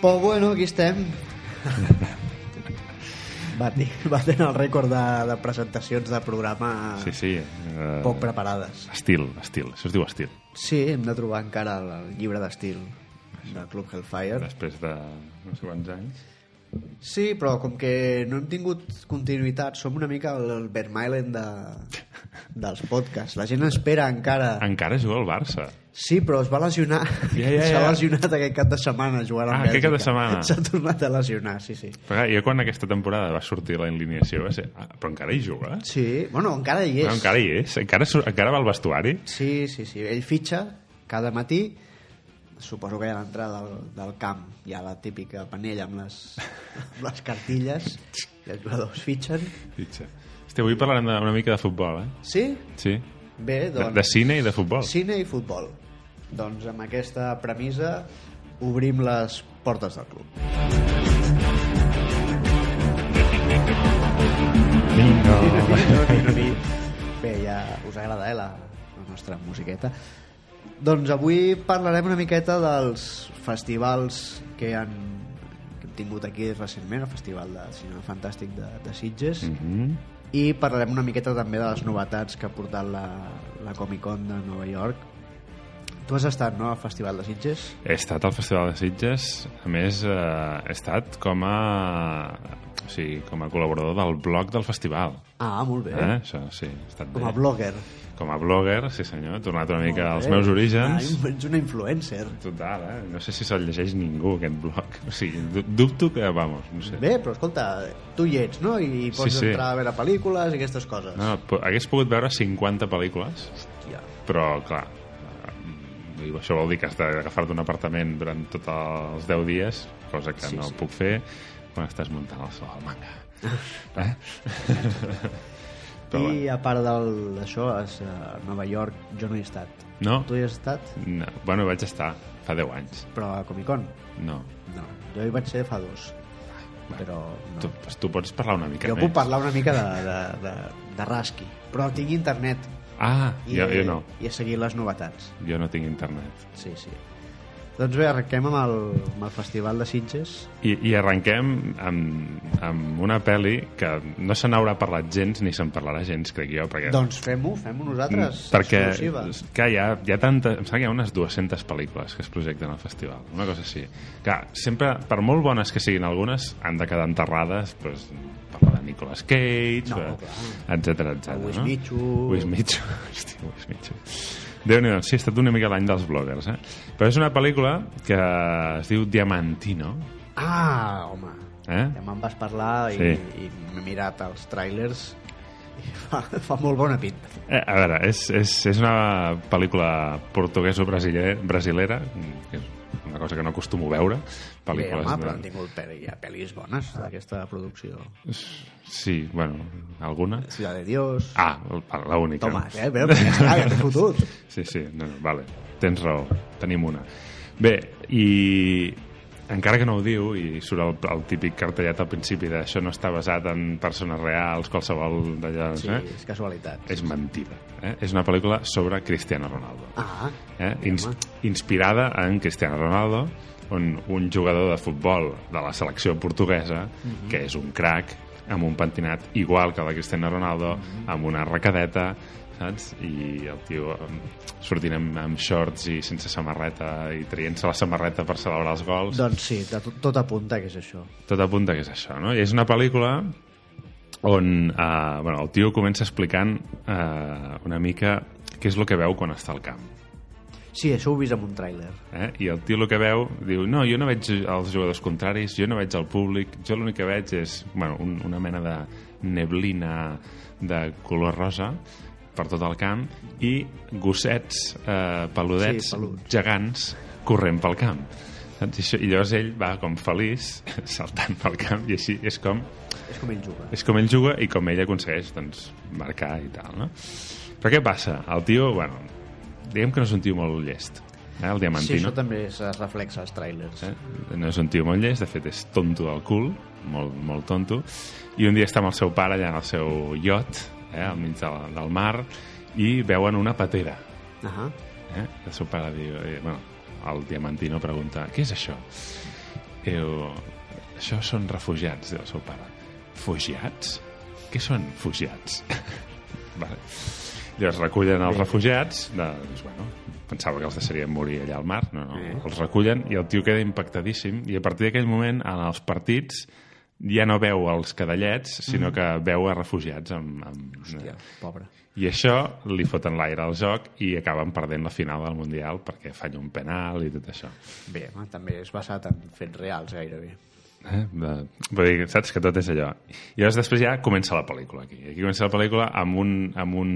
Però bueno, aquí estem. Bati, baten el rècord de, de presentacions de programa Sí, sí. Eh, Ah. poc preparades. Estil, estil. Això es diu estil. Sí, hem de trobar encara el llibre d'estil del Club Hellfire. Després de no sé quants anys. Sí, però com que no hem tingut continuïtat, som una mica el Vermeilen de, dels podcasts. La gent espera encara. Encara juga al Barça. Sí, però es va lesionar. Ja, ja, S'ha ja. lesionat aquest cap de setmana jugant Ah, amb aquest cap de setmana. S'ha tornat a lesionar, sí, sí. Però clar, jo quan aquesta temporada va sortir la alineació va ser... Ah, però encara hi juga? Sí, bueno, encara hi és. Ah, encara hi és? Encara, sur- encara va al vestuari? Sí, sí, sí. Ell fitxa cada matí, suposo que hi ha l'entrada del, del camp, hi ha la típica panella amb les, amb les cartilles, i els jugadors fitxen. Fitxa. Hosti, avui parlarem de- una mica de futbol, eh? Sí? Sí. Bé, De, doncs... de cine i de futbol. Cine i futbol. Doncs amb aquesta premissa obrim les portes del club. Bingo. Bé, ja us agrada eh, la, la nostra musiqueta. Doncs avui parlarem una miqueta dels festivals que han que hem tingut aquí recentment, el Festival de Cinema Fantàstic de, de Sitges, mm Mm, i parlarem una miqueta també de les novetats que ha portat la, la Comic Con de Nova York. Tu has estat, no?, al Festival de Sitges? He estat al Festival de Sitges, a més eh, he estat com a, o sigui, com a col·laborador del blog del festival. Ah, molt Eh? bé. Eh? Això, sí, he estat Com a bé. blogger. Eh? Com a blogger, sí senyor, he tornat una mica Molt als bé. meus orígens. Ah, ets una influencer. Total, eh? No sé si se'l llegeix ningú, aquest blog. O sigui, du- dubto que, vamos, no sé. Bé, però escolta, tu hi ets, no? I pots sí. Ah, entrar a veure pel·lícules i aquestes coses. No, po- hagués pogut veure 50 pel·lícules, Hòstia. però, clar, eh, vull dir, això vol dir que has d'agafar-te un apartament durant tots els 10 dies, cosa que Sí, sí, no sí. sí. puc fer quan estàs muntant el Salamanca. eh? però, I a part del- d'això, és, eh, a Nova York jo no hi he estat. No? Tu hi has estat? no, bueno, vaig estar fa 10 anys. Però a Comic Con? No. No. Jo hi vaig ser fa dos. Però no. Tu, pues, tu pots parlar una mica Jo més. puc parlar una mica de, de, de, de Rasky, però tinc internet Ah, i, jo, jo no. i he seguit les novetats. Jo no tinc internet. Sí, sí. Doncs bé, arrenquem amb el, amb el Festival de Sitges. I, i arrenquem amb, amb una pel·li que no se n'haurà parlat gens ni se'n parlarà gens, crec jo, perquè... Doncs fem-ho, fem-ho nosaltres. Mm, perquè exclusiva. que hi ha, hi ha tanta, em sembla que hi ha unes 200 pel·lícules que es projecten al festival, una cosa així. Clar, sempre, per molt bones que siguin algunes, han de quedar enterrades doncs, per la de Nicolas Cage, No, per- clar. etcètera, etcètera. El Luis no? Michu. Luis Michu. Hòstia, Luis Michu. Déu-n'hi-do, sí, ha estat una mica l'any dels bloggers, eh? Però és una pel·lícula que es diu Diamantino, Ah, home, eh? ja me'n vas parlar i, Sí. i m'he mirat els trailers i fa, fa molt bona pinta. Eh, a veure, és, és, és una pel·lícula portuguesa brasilera, que és una cosa que no acostumo a veure. Bé, Pel·lícules Ah. home, però han de... tingut pel·li, ja pel·lis bones d'aquesta producció. Sí, bueno, alguna. Ciudad de Dios... Ah, l'única. Toma, eh? Bé, ja està, ja t'he fotut. Sí, sí, no, no, vale, tens raó, tenim una. Bé, i encara que no ho diu, i surt el, el típic cartellet al principi d'això no està basat en persones reals, qualsevol d'allà, Sí, eh? és casualitat. és mentida. Eh? És una pel·lícula sobre Cristiano Ronaldo. Ah, eh? Ins inspirada en Cristiano Ronaldo on un jugador de futbol de la selecció portuguesa que és un crac amb un pentinat igual que el de Cristiano Ronaldo amb una recadeta saps? i el tio em, sortint amb, amb shorts i sense samarreta i traient-se la samarreta per celebrar els gols doncs sí, de tot, tot apunta que és això. tot apunta que és això, no? I és una pel·lícula on eh, bueno, el tio comença explicant eh, una mica què és el que veu quan està al camp. Sí, això ho he vist amb un tràiler. Eh? I el tio el que veu diu, no, jo no veig els jugadors contraris, jo no veig el públic, jo l'únic que veig és bueno, un, una mena de neblina de color rosa per tot el camp i gossets eh, peludets Sí, peluts. gegants corrent pel camp. Saps? I, això, I llavors ell va com feliç saltant pel camp i així és com És com ell juga. és com ell juga i com ell aconsegueix doncs, marcar i tal, no? Però què passa? El tio, bueno, diguem que no és un tio molt llest, eh, el Sí, Diamantino. això també es es reflexa als tràilers. eh? No és un tio molt llest, de fet és tonto del cul, molt, molt tonto, i un dia està amb el seu pare allà en el seu iot, eh, al mig de, del mar, i veuen una patera. Ah, Eh? I el seu pare diu... Eh, bueno, el Diamantino pregunta, què és això? Eu... Això són refugiats, diu el seu pare. Fugiats? Què són fugiats? vale. Llavors recullen els refugiats, de, doncs, bueno, pensava que els deixarien morir allà al mar, no, no, Bé. els recullen i el tio queda impactadíssim i a partir d'aquell moment en els partits ja no veu els cadallets, sinó que veu a refugiats amb... amb... Hòstia, pobre. I això li foten l'aire al joc i acaben perdent la final del Mundial perquè falla un penal i tot això. Bé, home, també és basat en fets reals, gairebé. Eh? De- Vull dir, saps que tot és allò. I llavors després ja comença la pel·lícula aquí. Aquí comença la pel·lícula amb un, amb un,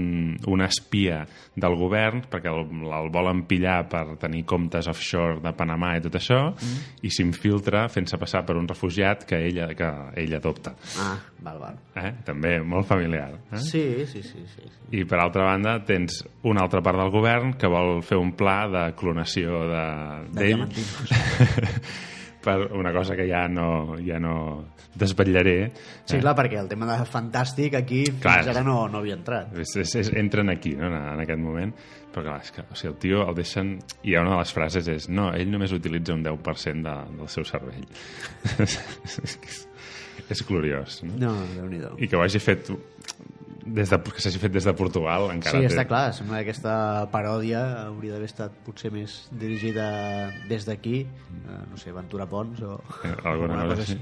una espia del govern, perquè el, el volen pillar per tenir comptes offshore de Panamà i tot això, mm. i s'infiltra fent-se passar per un refugiat que ella, que ella adopta. Ah, val, val. Eh? També molt familiar. Eh? Sí, sí, sí, sí. sí. I per altra banda tens una altra part del govern que vol fer un pla de clonació de, De d'ell diamantinos. per una cosa que ja no, ja no desvetllaré. Sí, clar, perquè el tema de Fantàstic aquí clar. Eh. Clar. fins ara no, no havia entrat. És, és, és, entren aquí, no?, en, en aquest moment. Però clar, és que o sigui, el tio el deixen... I una de les frases és no, ell només utilitza un 10% de, del seu cervell. és, és, és gloriós, no? No, déu nhi I que ho hagi fet des de, que s'hagi fet des de Portugal encara Sí, té- està clar, sembla que aquesta paròdia hauria d'haver estat potser més dirigida des d'aquí, eh, no sé, Ventura Pons o... Mm. Eh, alguna cosa així.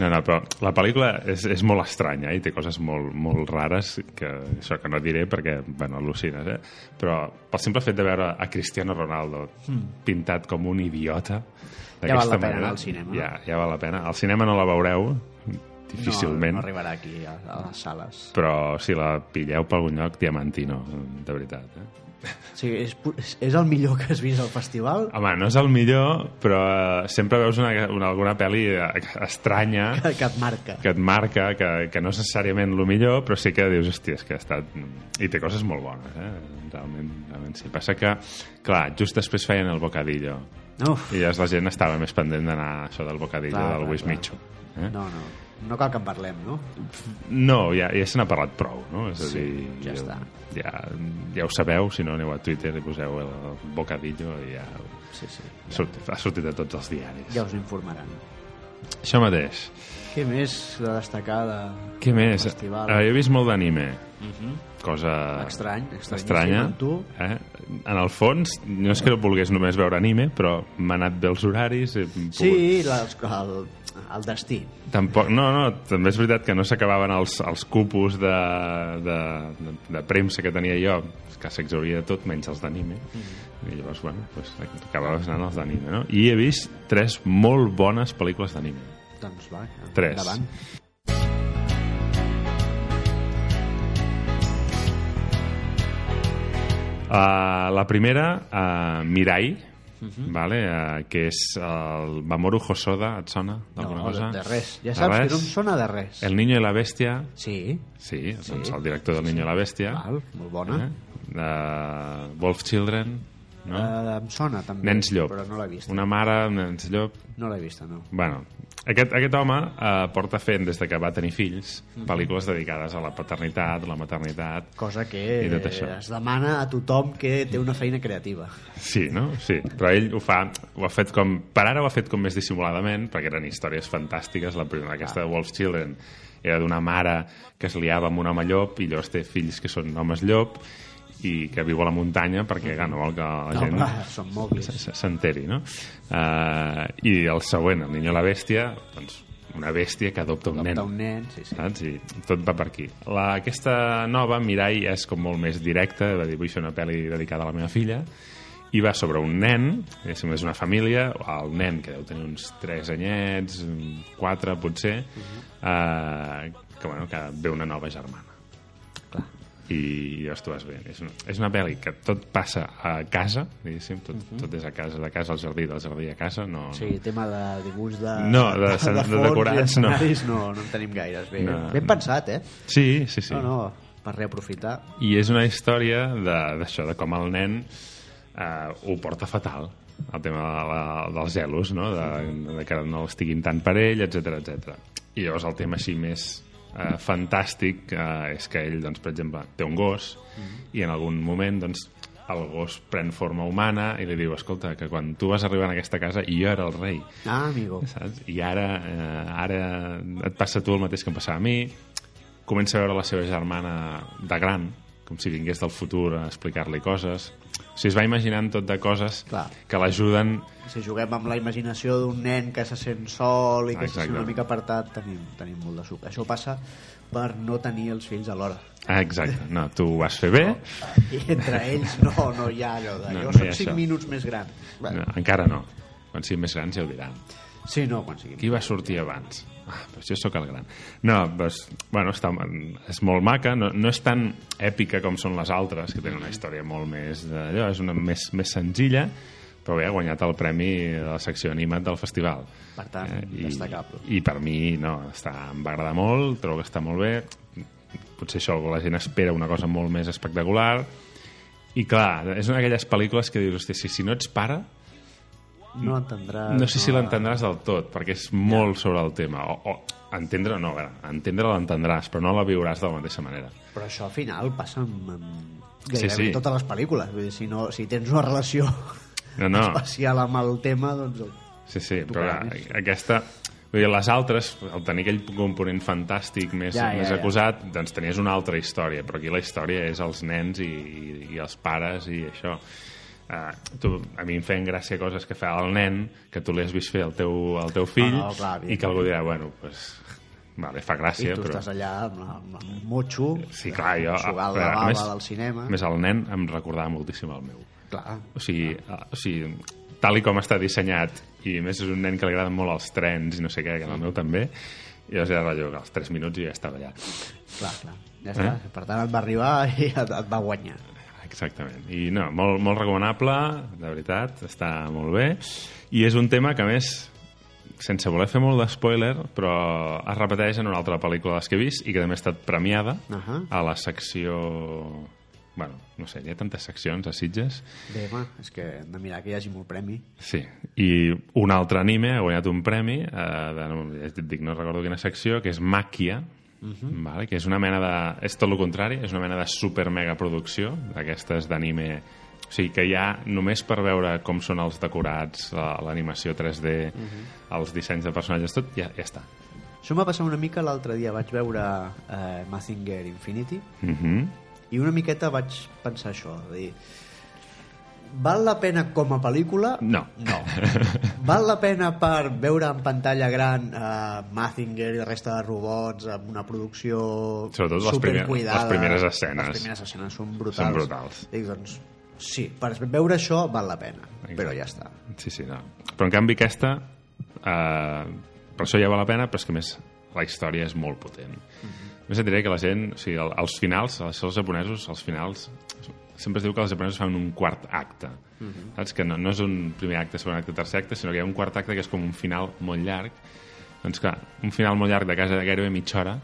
No, no, però la pel·lícula és, és molt estranya eh, i té coses molt, molt rares que, això que no diré perquè, bueno, al·lucines, eh? Però pel simple fet de veure a Cristiano Ronaldo mm. pintat com un idiota Hmm. Ja val la d'aquesta pena manera, anar al cinema. Ja, ja val la pena. Al cinema no la veureu, No, difícilment, no arribarà aquí a, a les sales. però si la pilleu per algun lloc, Diamantino, de veritat, eh? O sigui, és, pu- és- és el millor que has vist al festival? Home, no és el millor, però eh, sempre veus una, una, alguna pel·li eh, estranya Que, que et marca. que et marca, que, que no és necessàriament el millor, però sí que dius, hòstia, és que ha estat... I té coses molt bones, eh? Realment, realment sí. Passa que, clar, just després feien el bocadillo Uf, i llavors la gent estava més pendent d'anar a això del bocadillo Clar, del clar, Luis clar. Micho. Eh? no, no. No cal que en parlem, no? No, ja, ja se n'ha parlat prou, no? És a Sí, dir, ja està. Ja, ja ho sabeu, si no aneu a Twitter i poseu el bocadillo i ja... Sí, sí. Surt, ha sortit a tots els diaris. Ja us informaran. Això mateix. Què més de destacar de... Què més? Festival. Mhm. Ah, jo he vist molt d'anime. Cosa... Estrany, estranyíssim, estranya. amb tu. Eh? En el fons, no és que no volgués només veure anime, però m'han anat bé els horaris. He pogut... Sí, les, el, el destí. Tampoc, no, no, també és veritat que no s'acabaven els, els cupos de, de, de, de premsa que tenia jo, que s'exhauria de tot, menys els d'anime. Mm. I llavors, bueno, doncs, acabaves anant als d'anime, no? I he vist tres molt bones pel·lícules d'anime. Doncs va, Tres. endavant. Uh, la primera, uh, Mirai, Mhm. vale? uh, que és el Mamoru Hosoda, et sona d'alguna No, cosa? de, de res. Ja saps que no em sona de res. El Niño y la Bestia, Sí, sí, Doncs el director del Niño i la Bestia. val, molt bona. Eh? Uh, Wolf Children, no? Eh, em sona també, Nens llop. però no l'he vista. Una mare, un nens llop, No l'he vista, no. Bueno, aquest, aquest home eh, porta fent, des de que va tenir fills, pel·lícules dedicades a la paternitat, la maternitat... Cosa que I tot això. eh, es demana a tothom que té una feina creativa. Sí, no? Sí. Però ell ho fa... Ho ha fet com... Per ara ho ha fet com més dissimuladament, perquè eren històries fantàstiques. La primera, aquesta de Wolf's Children, era d'una mare que es liava amb un home llop i llavors té fills que són homes llop i que viu a la muntanya perquè clar, no vol que la No, gent clar, són mòbils. s- s'enteri, no? Uh, I el següent, el niño i la bèstia, doncs una bèstia que adopta un Adoptar nen. un nen, sí, sí. Saps? I tot va per aquí. La, aquesta nova, Mirai, és com molt més directa, va dir, vull fer una pel·li dedicada a la meva filla, i va sobre un nen, diguéssim, és una família, el nen que deu tenir uns 3 anyets, 4 potser, Mhm. eh, que, bueno, que ve una nova germana. Clar. I llavors tu vas veient. És una, és una pel·li que tot passa a casa, diguéssim, tot, tot és a casa, de casa al jardí, del jardí a casa, no, Mhm. Sí, tema de dibuix de... No, de- de fons i decorats, no. escenaris, no. no. en tenim gaires. Bé, No. ben pensat, eh? Sí, sí, sí. No, no, per reaprofitar. I és una història de- d'això, de, de com el nen eh, ho porta fatal, el tema de la, dels gelos, no? de, de que no estiguin tant per ell, etc etc. I llavors el tema així més eh, fantàstic eh, és que ell, doncs, per exemple, té un gos i en algun moment doncs, el gos pren forma humana i li diu, escolta, que quan tu vas arribar a aquesta casa jo era el rei, Ah, amigo. saps? I ara, eh, ara et passa a tu el mateix que em passava a mi. Comença a veure la seva germana de gran, com si vingués del futur a explicar-li coses. O sigui, es va imaginant tot de coses Clar. que l'ajuden... Si juguem amb la imaginació d'un nen que se sent sol i que se Exacte. sent una mica apartat, tenim, tenim molt de suc. Això passa per no tenir els fills alhora. Ah, exacte, no, tu ho vas fer bé, I entre ells no, no hi ha allò de... No, No, no jo hi ha soc 5 això. minuts més gran. no, encara no. Quan siguin més grans ja ho diran. Sí, no, quan sigui. Qui va sortir abans? Ah, però jo sóc el gran. No, doncs, bueno, està, és molt maca, no, no és tan èpica com són les altres, que tenen una història molt més d'allò, és una més, més senzilla, però bé, ha guanyat el premi de la secció animat del festival. Per tant, destacable. Eh, I per mi, no, està, em va agradar molt, trobo que està molt bé, potser això, la gent espera una cosa molt més espectacular, i clar, és una d'aquelles pel·lícules que dius, hòstia, si, si no ets pare, No entendràs... no sé si l'entendràs del tot, perquè és molt sobre el tema. O, o entendre no, a veure, entendre l'entendràs, però no la viuràs de la mateixa manera. Però això al final passa amb, amb gairebé sí. totes les pel·lícules. Vull dir, si, no, si tens una relació No, no, especial amb el tema, doncs... el- sí, sí, Tu però clar, creus? aquesta... Vull dir, les altres, al tenir aquell component fantàstic més, Ja, ja, més ja. acusat, doncs tenies una altra història, però aquí la història és els nens i, i, i els pares i això. Uh, tu, a mi em feien gràcia coses que fa el nen, que tu li has vist fer al teu, al teu fill, Ah, no, clar, i que algú dirà, bueno, pues, vale, fa I gràcia, tu però... estàs allà amb, la- amb el motxo, Sí, clar, jo... sugant la però, bava a més- del cinema... a Més el nen em recordava moltíssim el meu. Clar, O sigui, ah. o sigui, tal i com està dissenyat, i a més és un nen que li agraden molt els trens i no sé què, que el meu també, i llavors era allò, que als 3 minuts i ja estava allà. clar, clar. Eh? Ja està. Per tant, et va arribar i et, et va guanyar. Exactament. I no, molt, molt recomanable, de veritat, està molt bé. I és un tema que, a més, sense voler fer molt d'espoiler, però es repeteix en una altra pel·lícula de les que he vist i que també ha estat premiada Ahà. a la secció... Bueno, no sé, hi ha tantes seccions a Sitges. Bé, home, és que hem de mirar que hi hagi molt premi. Sí, i un altre anime ha guanyat un premi, eh, de, no, ja et dic, no recordo quina secció, que és Màquia, vale? que és una mena de... És tot el contrari, és una mena de super mega producció, d'aquestes d'anime... O sigui, que ja només per veure com són els decorats, la- l'animació 3D, els dissenys de personatges, tot, ja, ja està. Això m'ha passat una mica l'altre dia. Vaig veure eh, Mazinger Infinity Uh -huh. i una miqueta vaig pensar això, de dir... Val la pena com a pel·lícula? No. No. Val la pena per veure en pantalla gran eh, Mazinger i la resta de robots amb una producció Sobretot les primeres- supercuidada? les primeres escenes. Les primeres escenes són brutals. Són brutals. Dic, doncs, sí, per veure això val la pena, però ja està. Sí, sí, no. Però en canvi aquesta, eh, per això ja val la pena, però és que a més la història és molt potent. Mm -hmm. Més et diré que la gent, o sigui, el, els finals, els, els japonesos, els finals, sempre es diu que els japonesos fan un quart acte. Mm -hmm. Saps? Que no, no és un primer acte, segon acte, tercer acte, sinó que hi ha un quart acte que és com un final molt llarg. Doncs clar, un final molt llarg de casa de gairebé mitja hora,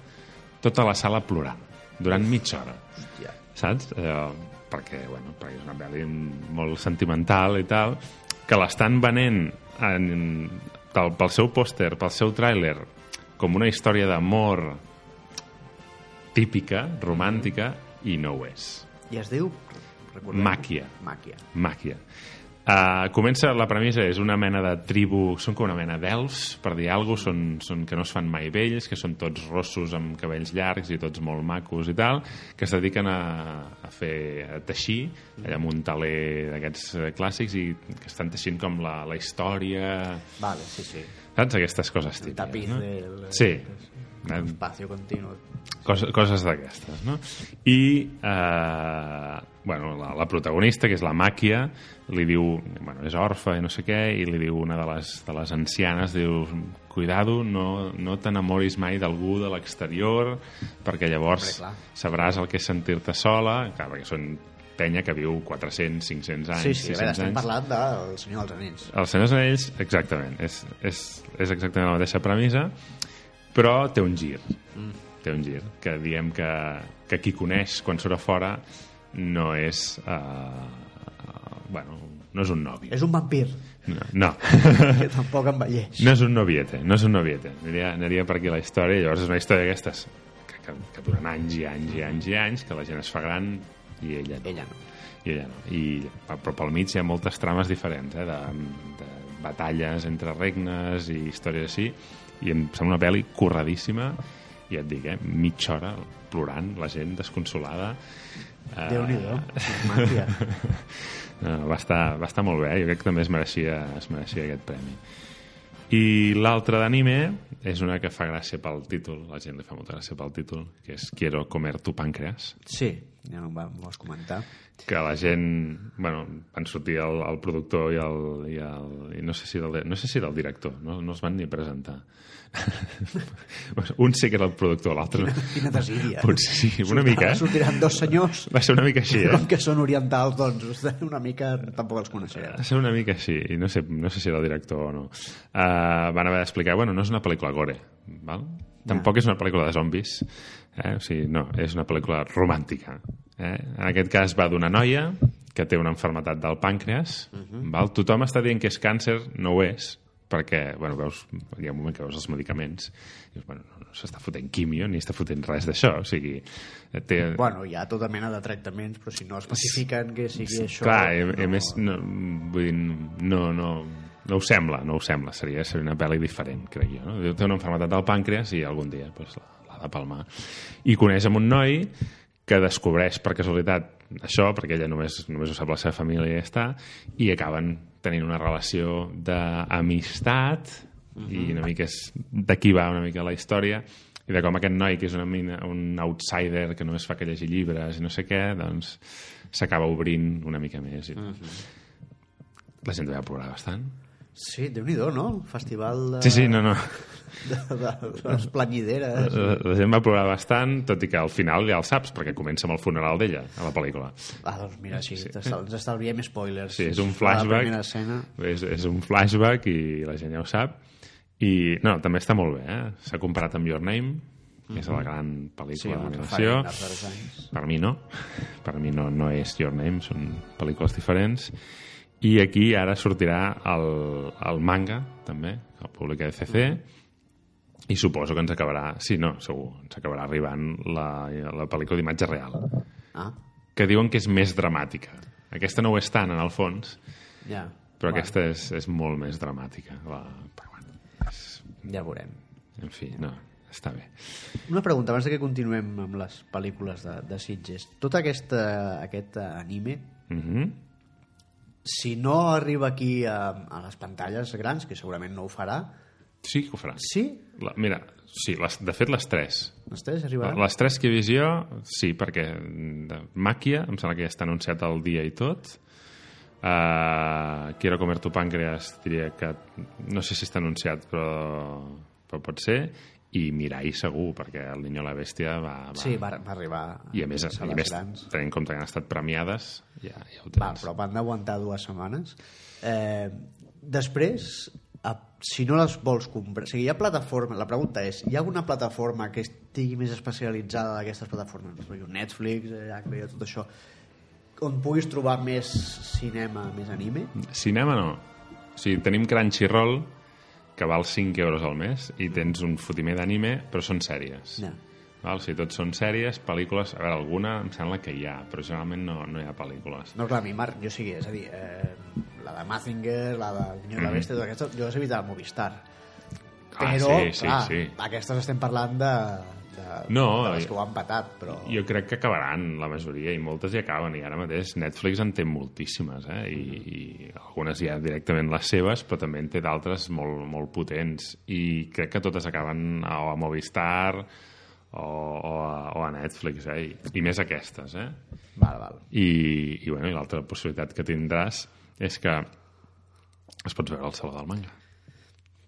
tota la sala plorant, durant mitja hora Hòstia. saps? Eh, perquè, bueno, perquè és una pel·li molt sentimental i tal, que l'estan venent en, pel, pel seu pòster, pel seu tràiler, com una història d'amor típica, romàntica, i no ho és. I es diu... Recordem, Màquia. Màquia. Màquia. Uh, comença, la premissa és una mena de tribu, són com una mena d'elfs, per dir alguna cosa, són, són que no es fan mai vells, que són tots rossos amb cabells llargs i tots molt macos i tal, que es dediquen a, a fer a teixir, allà amb un taler d'aquests eh, clàssics i que estan teixint com la, la història, Vale, sí, sí. saps? Aquestes coses típiques. Tapiz no? del... Sí. Eh, Espacio continuo. Coses, coses d'aquestes, no? I, eh, bueno, la, la protagonista, que és la Màquia, li diu, bueno, és orfa i no sé què, i li diu una de les, de les ancianes, diu, cuidado, no, no t'enamoris mai d'algú de l'exterior, perquè llavors Hombre, clar. sabràs el que és sentir-te sola, clar, perquè són penya que viu 400, 500 anys, Sí, sí, a veure, 600 estem anys. parlant del Senyor dels Anells. El Senyor dels Anells, exactament, és, és, és exactament la mateixa premissa, però té un gir. Mm. Té un gir, que diem que, que qui coneix quan surt a fora no és... Uh, uh, bueno, no és un novi. És un vampir, No, no, que tampoc envelleix. no és un noviete, no és un noviete. Aniria, aniria per aquí la història, llavors és una història d'aquestes que, que, que duren anys i anys i anys i anys, que la gent es fa gran i ella no. Ella no. i allà no. I, però pel mig hi ha moltes trames diferents, eh, de, de batalles entre regnes i històries així, i em sembla una pel·li curradíssima, i et dic, eh, mitja hora plorant, la gent desconsolada. Eh, Déu-n'hi-do, màgia. no, Eh, va, estar, va estar molt bé, eh? jo crec que també es mereixia, es mereixia aquest premi. I l'altra d'anime és una que fa gràcia pel títol, la gent li fa molta gràcia pel títol, que és Quiero comer tu pàncreas, Sí, ja no em va- em vas comentar. que la gent... Bueno, van sortir el, el productor i el... I el i no, sé si del, no sé si del director, no, no es van ni presentar. Un sí que era el productor, l'altre... no. Quina desídia. Potser sí, una mica, eh? Sortiran dos senyors Va ser una mica així, eh? com que són orientals, doncs una mica tampoc els coneixerem. Va ser una mica així, i no sé, no sé si era el director o no. Uh, van haver d'explicar, bueno, no és una pel·lícula gore, val? Tampoc és una pel·lícula de zombis, eh? o sigui, no, és una pel·lícula romàntica. Eh? En aquest cas va d'una noia que té una enfermetat del pàncreas, Mhm. val? tothom està dient que és càncer, no ho és, perquè, bueno, veus, hi ha un moment que veus els medicaments i dius, bueno, no, no s'està fotent quimio ni està fotent res d'això, o sigui, té, Bueno, hi ha tota mena de tractaments, però si no especifiquen que sigui això... Clar, i, no. i a més, no, vull dir, no, no, no ho sembla, no ho sembla. Seria, seria una pel·li diferent, crec jo. No? Té una enfermedad del pàncreas i algun dia pues, l'ha- l'ha de palmar. I coneix amb un noi que descobreix per casualitat això, perquè ella només, només ho sap la seva família i ja està, i acaben tenint una relació d'amistat i una mica és d'aquí va una mica la història i de com aquest noi que és una mina, un outsider que només fa que llegir llibres i no sé què, doncs s'acaba obrint una mica més. I... La gent va plorar bastant. Sí, déu nhi no? Festival de, Sí, sí, no, no. de, de, de les planyideres. La, la gent va plorar bastant, tot i que al final ja el saps, perquè comença amb el funeral d'ella, a la pel·lícula. Ah, doncs mira, sí, sí. ens estalviem spoilers. Sí, és un La flashback. primera escena... És, és un flashback i la gent ja ho sap. I, no, també està molt bé, eh? S'ha comparat amb Your Name, que és la gran Sí, pel·lícula un d'animació. referent dels darrers anys. Per mi no. Per mi no, no és Your Name, són pel·lícules diferents. I aquí ara sortirà el, el manga, també, el publica ECC, i suposo que ens acabarà, sí, no, segur, ens acabarà arribant la, la pel·lícula d'imatge real, Ah, que diuen que és més dramàtica. Aquesta no ho és tant, en el fons, ja. però aquesta és, és molt més dramàtica. La, però bueno, Ja veurem. en fi, no, està bé. Una pregunta, abans de que continuem amb les pel·lícules de, de Sitges. Tot aquesta, aquest eh, anime, Mhm. si no arriba aquí a, a les pantalles grans, que segurament no ho farà, Sí que ho farà. sí? La, mira, sí, les, de fet les tres, Les tres arribaran? Eh? Les tres que he vist jo, sí, perquè de Màquia, em sembla que ja està anunciat el dia i tot. Uh, Quiero comer tu pàncreas, diria que... No sé si està anunciat, però, però pot ser. I Mirai segur, perquè el Niño la Bèstia va... va... Sí, va, va arribar I a més, a i a les més grans. tenint en compte que han estat premiades, ja, ja ho tens. Va, però van d'aguantar dues setmanes. Eh, després, a, si no les vols comprar... O sigui, hi ha plataforma... La pregunta és, hi ha alguna plataforma que estigui més especialitzada d'aquestes plataformes? rotllo Netflix, eh, HBO, tot això on puguis trobar més cinema, més anime? Cinema no. O sigui, tenim Crunchyroll, que val 5 euros al mes, i tens un fotimer d'anime, però són sèries. No. Val? O sigui, tot són sèries, pel·lícules... A veure, alguna em sembla que hi ha, però generalment no, no hi ha pel·lícules. No, clar, a mi, Marc, jo sí, és a dir, eh, la de Mazinger, la de Niño de la Bèstia, totes aquestes, jo les he vist a Movistar. però, Mm-hmm. ah, sí, sí, clar, sí. aquestes estem parlant de, de, No, de les jo- que ho han patat, però... Jo crec que acabaran, la majoria, i moltes ja acaben, i ara mateix Netflix en té moltíssimes, eh? I, i algunes ja directament les seves, però també en té d'altres molt, molt potents, i crec que totes acaben a- o a Movistar o, o, a, o a Netflix, eh? I, i més aquestes, eh? Val, val. I, i, bueno, i l'altra possibilitat que tindràs és que es pots veure al Saló del Manga.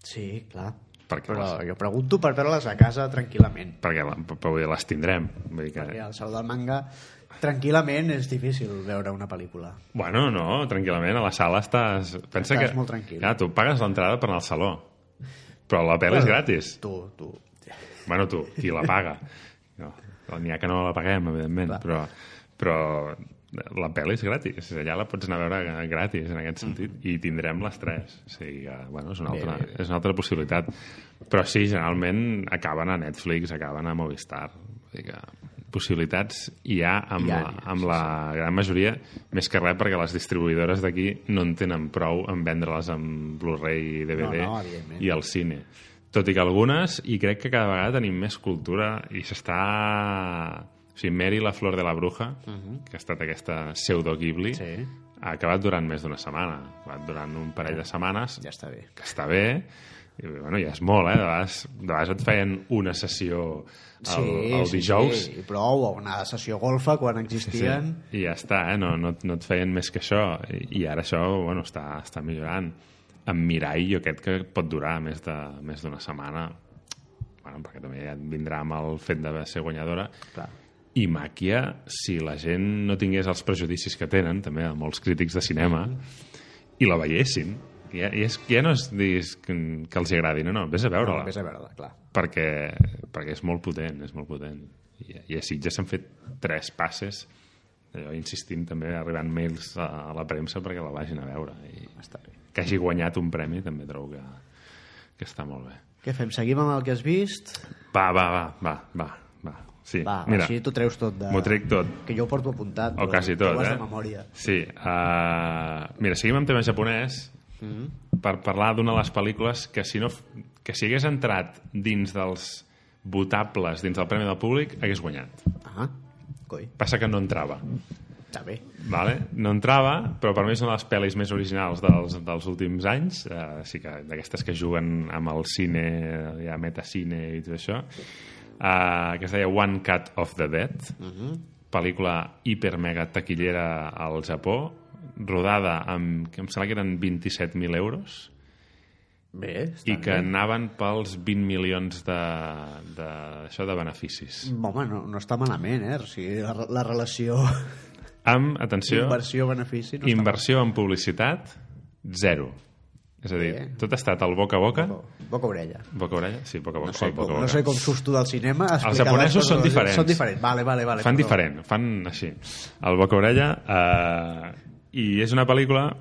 Sí, clar. Perquè Però les- jo pregunto per veure-les a casa tranquil·lament. Perquè la, però vull dir, les tindrem. Vull dir que... Perquè al Saló del Manga tranquil·lament és difícil veure una pel·lícula. Bueno, no, tranquil·lament, a la sala estàs... Pensa Estàs que... molt tranquil. Clar, tu pagues l'entrada per anar al saló, però la pel·li és gratis. Tu, tu. Bueno, tu, qui la paga? No, n'hi ha que no la paguem, evidentment, però, però la pel·li és gratis. Allà la pots anar a veure gratis, en Mm. aquest sentit, i tindrem les tres. O sigui que, bueno, és una, altra, és una altra possibilitat. Però sí, generalment acaben a Netflix, acaben a Movistar. Vull dir que possibilitats hi ha amb, Hi ha, la, hi ha, amb sí, la gran majoria, més que res perquè les distribuïdores d'aquí no en tenen prou en vendre-les amb Blu-ray i DVD No, no, evidentment. i al cine. Tot i que algunes, i crec que cada vegada tenim més cultura i s'està... O sigui, Mary la flor de la bruja, uh -huh. que ha estat aquesta pseudo Ghibli, Mhm. Sí. ha acabat durant més d'una setmana. Ha acabat durant un parell de setmanes Ja està bé. que està bé, i, bueno, ja és molt, eh? De vegades, de vegades et feien una sessió el, el dijous Sí, sí, prou, o una sessió golfa quan existien. i ja està, eh? No, no, et- no et feien més que això. I, i ara això, bueno, està, està millorant. Amb Mirai jo crec que pot durar més de- més d'una setmana, bueno, perquè també ja et vindrà amb el fet de ser guanyadora. Clar. I Màquia, si la gent no tingués els prejudicis que tenen, també de molts crítics de cinema, i la veiessin, ja, ja, és, ja no és dis que, que els agradi, no, no, vés a Però veure-la, vés a veure clar. perquè, perquè és molt potent, és molt potent. I, i així ja s'han fet tres passes, allò, insistint també, arribant mails a, a la premsa perquè la vagin a veure. I Està bé. que hagi guanyat un premi també trobo que, que està molt bé. Què fem? Seguim amb el que has vist? Va, va, va, va, va, va. Sí, Va, mira, així t'ho treus tot de... m'ho trec tot. Que jo ho porto apuntat, O quasi tot, ho has eh? de memòria. Sí. Uh, mira, seguim amb tema japonès mm Mhm. -hmm. per parlar d'una de les pel·lícules que si, no, f- que si hagués entrat dins dels votables, dins del Premi del Públic, hagués guanyat. Ah, coi, Passa que no entrava. està bé. Vale? No entrava, però per mi és una de les pel·lis més originals dels, dels últims anys, eh, sí que d'aquestes que juguen amb el cine, ja metacine i tot això, eh, que es deia One Cut of the Dead, uh -huh. pel·lícula hipermega taquillera al Japó, rodada amb, que em sembla que eren 27.000 euros, Bé, està i que bé. anaven pels 20 milions de, de, això de beneficis. Home, no, no està malament, eh? O sigui, la, la relació Amb, atenció... inversió-benefici no Inversió en publicitat, zero. És a dir, Bé. tot ha estat el boca a boca. està mal. Boca orella. Boca a orella? Sí, boca a boca. No sé, el com, boca, a no boca. sé com susto del cinema. explicar les japonesos coses. són diferents. Són diferents, vale, vale. vale fan perdó. diferent, fan així. El boca a orella... Eh, I és una pel·lícula...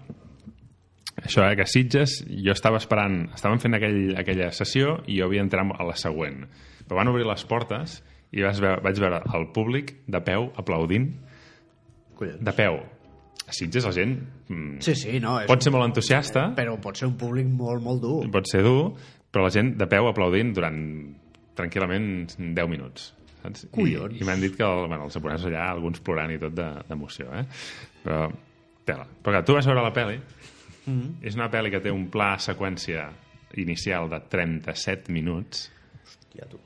Això, eh, que a Sitges jo estava esperant... Estàvem fent aquell, aquella sessió i jo havia entrat a la següent. Però van obrir les portes i vas veure, vaig veure el públic de peu aplaudint. Collons. De peu. A Sitges la gent mm, Sí, sí, no. És, pot ser molt entusiasta... Però pot ser un públic molt, molt dur. pot ser dur, però la gent de peu aplaudint durant tranquil·lament 10 minuts. Saps? Collons. I, i m'han dit que el, bueno, els japonesos allà, alguns plorant i tot de- d'emoció, eh? Però, tela. Però clar, tu vas veure la pel·li, mm -hmm. és una pel·li que té un pla seqüència inicial de 37 minuts, Hòstia, tu.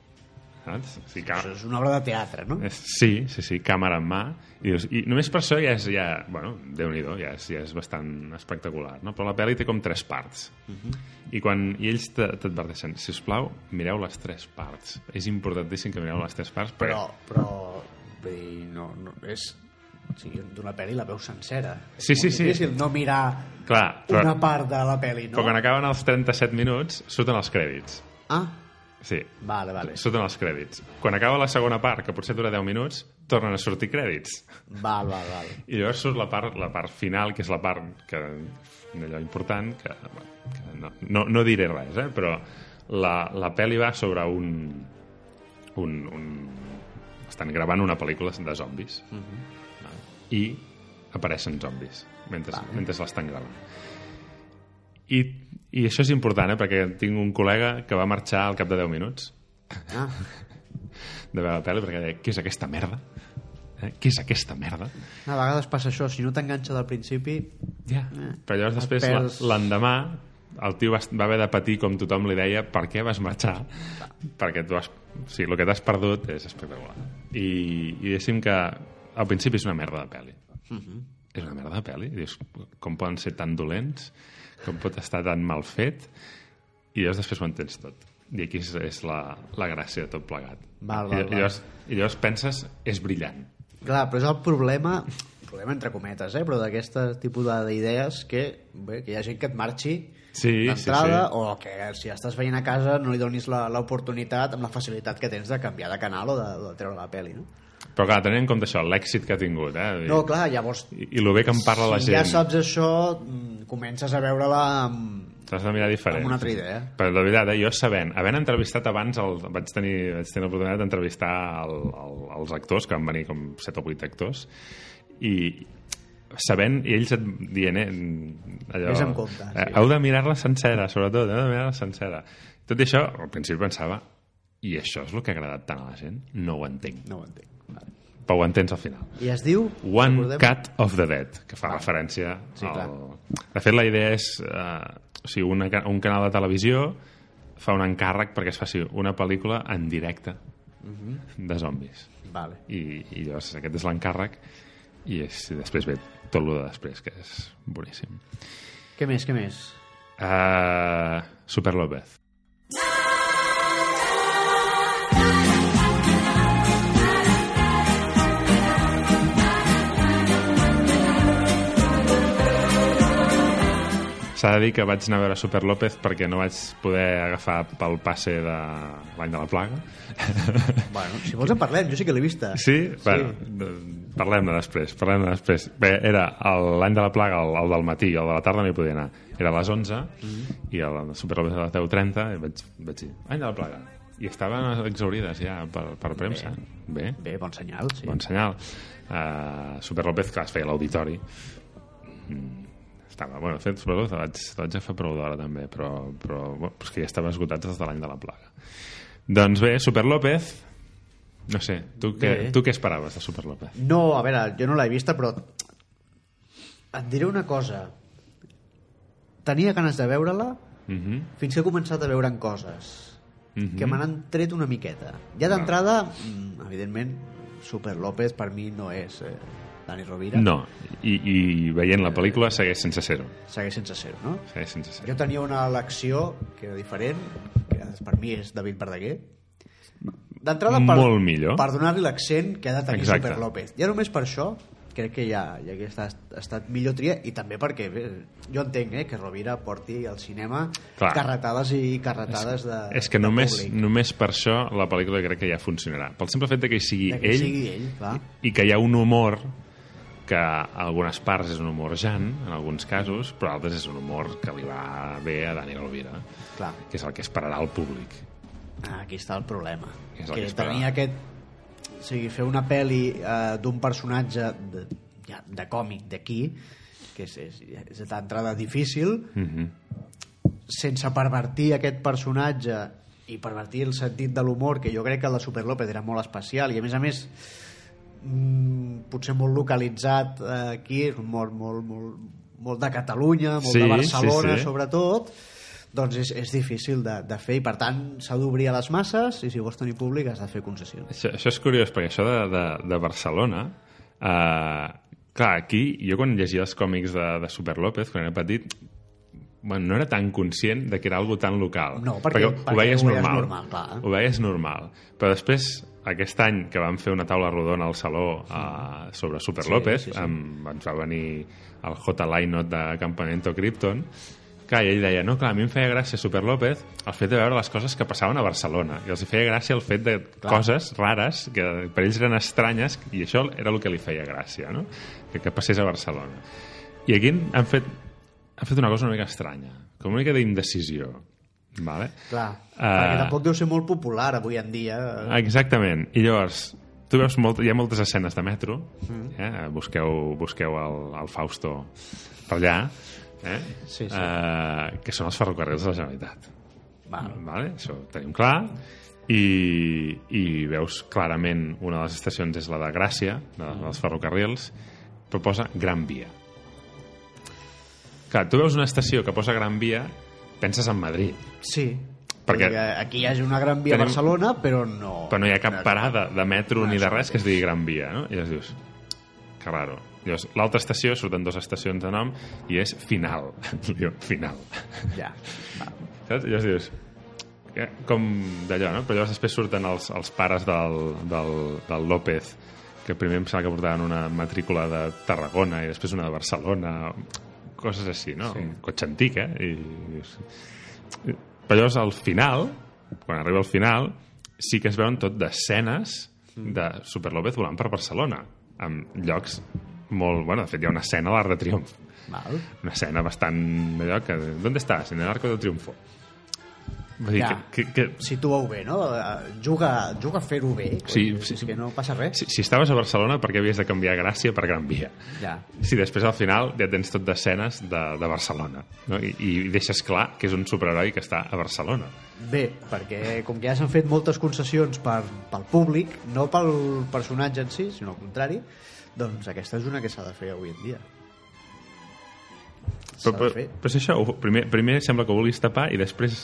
saps? O sigui, Això és una obra de teatre, no? Eh, Sí, sí, sí, càmera en mà. I, dius, i només per això ja és, ja, bueno, déu nhi ja, és, ja és bastant espectacular, no? Però la pel·li té com tres parts. Mhm. I quan i ells te- t'adverteixen, si us plau, mireu les tres parts. És importantíssim que mireu les tres parts, perquè... Però, però... Vull dir, no, no, és... O sigui, d'una pel·li la veu sencera. És Sí, sí, molt sí. difícil no mirar Clar, però, una part de la pel·li, no? però quan acaben els 37 minuts, surten els crèdits. Ah, Sí, vale, vale. surten els crèdits. Quan acaba la segona part, que potser dura 10 minuts, tornen a sortir crèdits. Val, val, val. I llavors surt la part, la part final, que és la part que, allò important, que, bueno, que no, no, no diré res, eh? però la, la pel·li va sobre un, un, un... Estan gravant una pel·lícula de zombis uh -huh. i apareixen zombis mentre, mentre l'estan gravant. I, I això és important, eh? perquè tinc un col·lega que va marxar al cap de 10 minuts Ah, de veure la pel·li perquè deia, què és aquesta merda? Eh? Què és aquesta merda? a vegades passa això. Si no t'enganxa del principi... Ja. Però llavors després, perds. la- l'endemà, el tio va, va haver de patir, com tothom li deia, per què vas marxar? Perquè tu has... O sigui, el que t'has perdut és espectacular. I, i diguéssim que al principi és una merda de pel·li. Mm-hmm. És una merda de pel·li. Dius, com poden ser tan dolents? Com pot estar tan mal fet? I llavors després ho entens tot. I aquí és, és la, la gràcia de tot plegat. Val, val, I, I, llavors, I llavors penses, és brillant. Clar, però és el problema problema entre cometes, eh? però d'aquest tipus de- d'idees que, bé, que hi ha gent que et marxi Sí, d'entrada o que si estàs veient a casa no li donis la- l'oportunitat amb la facilitat que tens de canviar de canal o de, de treure la pel·li no? Però clar, tenint en compte això, l'èxit que ha tingut, eh? No, clar, llavors, I, I el bé que en parla la si gent. ja saps això, mm, comences a veure-la amb... T'has de mirar diferent. Amb una altra idea. Però la veritat, eh, jo sabent, havent entrevistat abans, el, vaig, tenir, vaig tenir l'oportunitat d'entrevistar el, el, els actors, que van venir com 7 o 8 actors, i sabent, i ells et dient, eh, allò... Vés amb compte, sí. eh, Heu de mirar-la sencera, sobretot, heu de mirar-la sencera. Tot i això, al principi pensava, i això és el que ha agradat tant a la gent? No ho entenc. No ho entenc. Vale. Però ho entens al final. I es diu... One recordem? Cut of the Dead, que fa referència Sí, clar. al... De fet, la idea és... Eh, o sigui, una, ca- un canal de televisió fa un encàrrec perquè es faci una pel·lícula en directe Mhm. de zombis. Vale. I, i llavors aquest és l'encàrrec i, és, i després ve tot el de després, que és boníssim. Què més, què més? Uh, Super López. S'ha de dir que vaig anar a veure Super López perquè no vaig poder agafar pel passe de l'any de la plaga. Bueno, si vols en parlem, jo sí que l'he vista. Sí? Bueno, parlem-ne després, parlem després. Bé, era el- l'any de la plaga, el, el del matí, el de la tarda no hi podia anar. Era a les 11 i a la Superlobes a les 10.30 i vaig, vaig dir, any de la plaga. I estaven exaurides ja per, per premsa. Bé, Bé, bon senyal, sí. bon senyal. Uh, Super López, clar, es feia a l'auditori. Mm, Estava, bueno, de fet, Super López la vaig, la vaig agafar prou d'hora també, però, però bueno, és que ja estava esgotat des de l'any de la plaga. Doncs bé, Super López, no sé, tu Bé. què, tu què esperaves de Super López? No, a veure, jo no l'he vista, però et diré una cosa. Tenia ganes de veure-la Mm -hmm. fins que he començat a veure'n coses Mhm. que me n'han tret una miqueta. Ja d'entrada, mm, evidentment, Super López per mi no és eh, Dani Rovira. No, I, i veient la pel·lícula segueix sense ser-ho. Segueix sense ser no? Segueix sense ser Jo tenia una elecció que era diferent, que per mi és David Verdaguer. D'entrada, per, Molt millor. per donar-li l'accent que ha de tenir Exacte. Super López. Ja només per això crec que ja, ja que ha estat millor tria i també perquè bé, jo entenc eh, que Rovira porti al cinema Clar. carretades i carretades de És que de només, públic. només per això la pel·lícula crec que ja funcionarà. Pel simple fet de que hi sigui, De que ell, sigui ell, clar. i que hi ha un humor que a algunes parts és un humor jan, en alguns casos, però a altres és un humor que li va bé a Dani Rovira, clar. que és el que esperarà el públic. Ah, Aquí està el problema. És el que que es tenir paga. aquest... O sigui, fer una pel·li eh, d'un personatge de, ja, de còmic d'aquí, que és, és, és d'entrada difícil, Mm -hmm. sense pervertir aquest personatge i pervertir el sentit de l'humor, que jo crec que la Super López era molt especial, i a més a més mm, potser molt localitzat eh, aquí, és un humor molt, molt, molt de Catalunya, molt Sí, de Barcelona, sí, sí. sobretot, doncs és, és difícil de, de fer i per tant s'ha d'obrir a les masses i si vols tenir públic has de fer concessions. Això, això és curiós, perquè això de, de, de Barcelona... Eh, clar, aquí, jo quan llegia els còmics de, de Super López, quan era petit, bueno, no era tan conscient de que era algo tan local. No, perquè- perquè ho veies ho veies normal. normal, clar. Ho veies normal. Però després, aquest any que vam fer una taula rodona al Saló eh, sobre Super Sí, López, sí, sí. Em, ens va venir el J. Lainot de Campamento Krypton, Clar, i ell deia, no, clar, a mi em feia gràcia Super López el fet de veure les coses que passaven a Barcelona i els hi feia gràcia el fet de clar. coses rares que per ells eren estranyes i això era el que li feia gràcia, no? Que, que passés a Barcelona. I aquí han fet, han fet una cosa una mica estranya, com una mica d'indecisió, vale? Clar, Eh, perquè tampoc deu ser molt popular avui en dia. eh, Exactament. I llavors, tu veus molt, hi ha moltes escenes de metro, eh? busqueu, busqueu el, el Fausto per allà, eh? Sí, sí. Eh, que són els ferrocarrils de la Generalitat. mm. Va, Vale? Això ho tenim clar. I, I veus clarament una de les estacions és la de Gràcia, de, Mm. dels ferrocarrils, però posa Gran Via. Clar, tu veus una estació que posa Gran Via, penses en Madrid, sí, Perquè- Vull dir que aquí hi hagi una gran via Tenim- a Barcelona, però no... però no hi ha cap parada de metro ni de Exacte. res que es digui Gran Via, no? I llavors dius, que raro. Llavors, l'altra estació, surten dues estacions de nom, i és final. Diu, final. Ja, va. Saps? I llavors dius, que- com d'allò, no? Però llavors després surten els, els pares del, del, del López, que primer em sembla que portaven una matrícula de Tarragona i després una de Barcelona, coses així, no? Un cotxe antic, eh? I dius... Però llavors, al final, quan arriba al final, sí que es veuen tot d'escenes de Super López volant per Barcelona, amb llocs molt... Bueno, de fet, hi ha una escena a l'Arc de Triomf, Val. una escena bastant... Allò que, ¿Dónde estás? En el Arco del Triunfo. Vull dir, Ja. que, que, que, Situeu bé, no? Eh, Juga, juga a fer-ho bé. Sí, coi, sí, És que no passa res. si, si estaves a Barcelona, per què havies de canviar Gràcia per Gran Via? Ja. Si després al final ja tens tot d'escenes de, de Barcelona no? I, i deixes clar que és un superheroi que està a Barcelona. Bé, perquè com que ja s'han fet moltes concessions per, pel públic, no pel personatge en si, sinó al contrari, doncs aquesta és una que s'ha de fer avui en dia. S'ha Però, de però, fer. però és això, ho- primer, primer sembla que ho vulguis tapar i després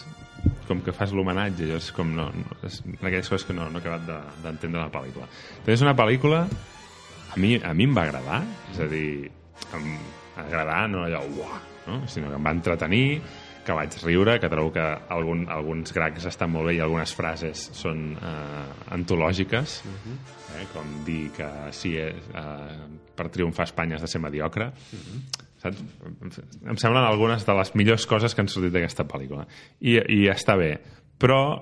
com que fas l'homenatge allò és com no, no és una d'aquelles coses que no, no he acabat de- d'entendre de, la pel·lícula També és una pel·lícula a mi, a mi em va agradar és a dir, em agradar no allò uah, no? sinó que em va entretenir que vaig riure, que trobo que algun, alguns gracs estan molt bé i algunes frases són eh, antològiques eh, com dir que si eh, per triomfar a Espanya has de ser mediocre saps? Em semblen algunes de les millors coses que han sortit d'aquesta pel·lícula. I, I està bé. Però,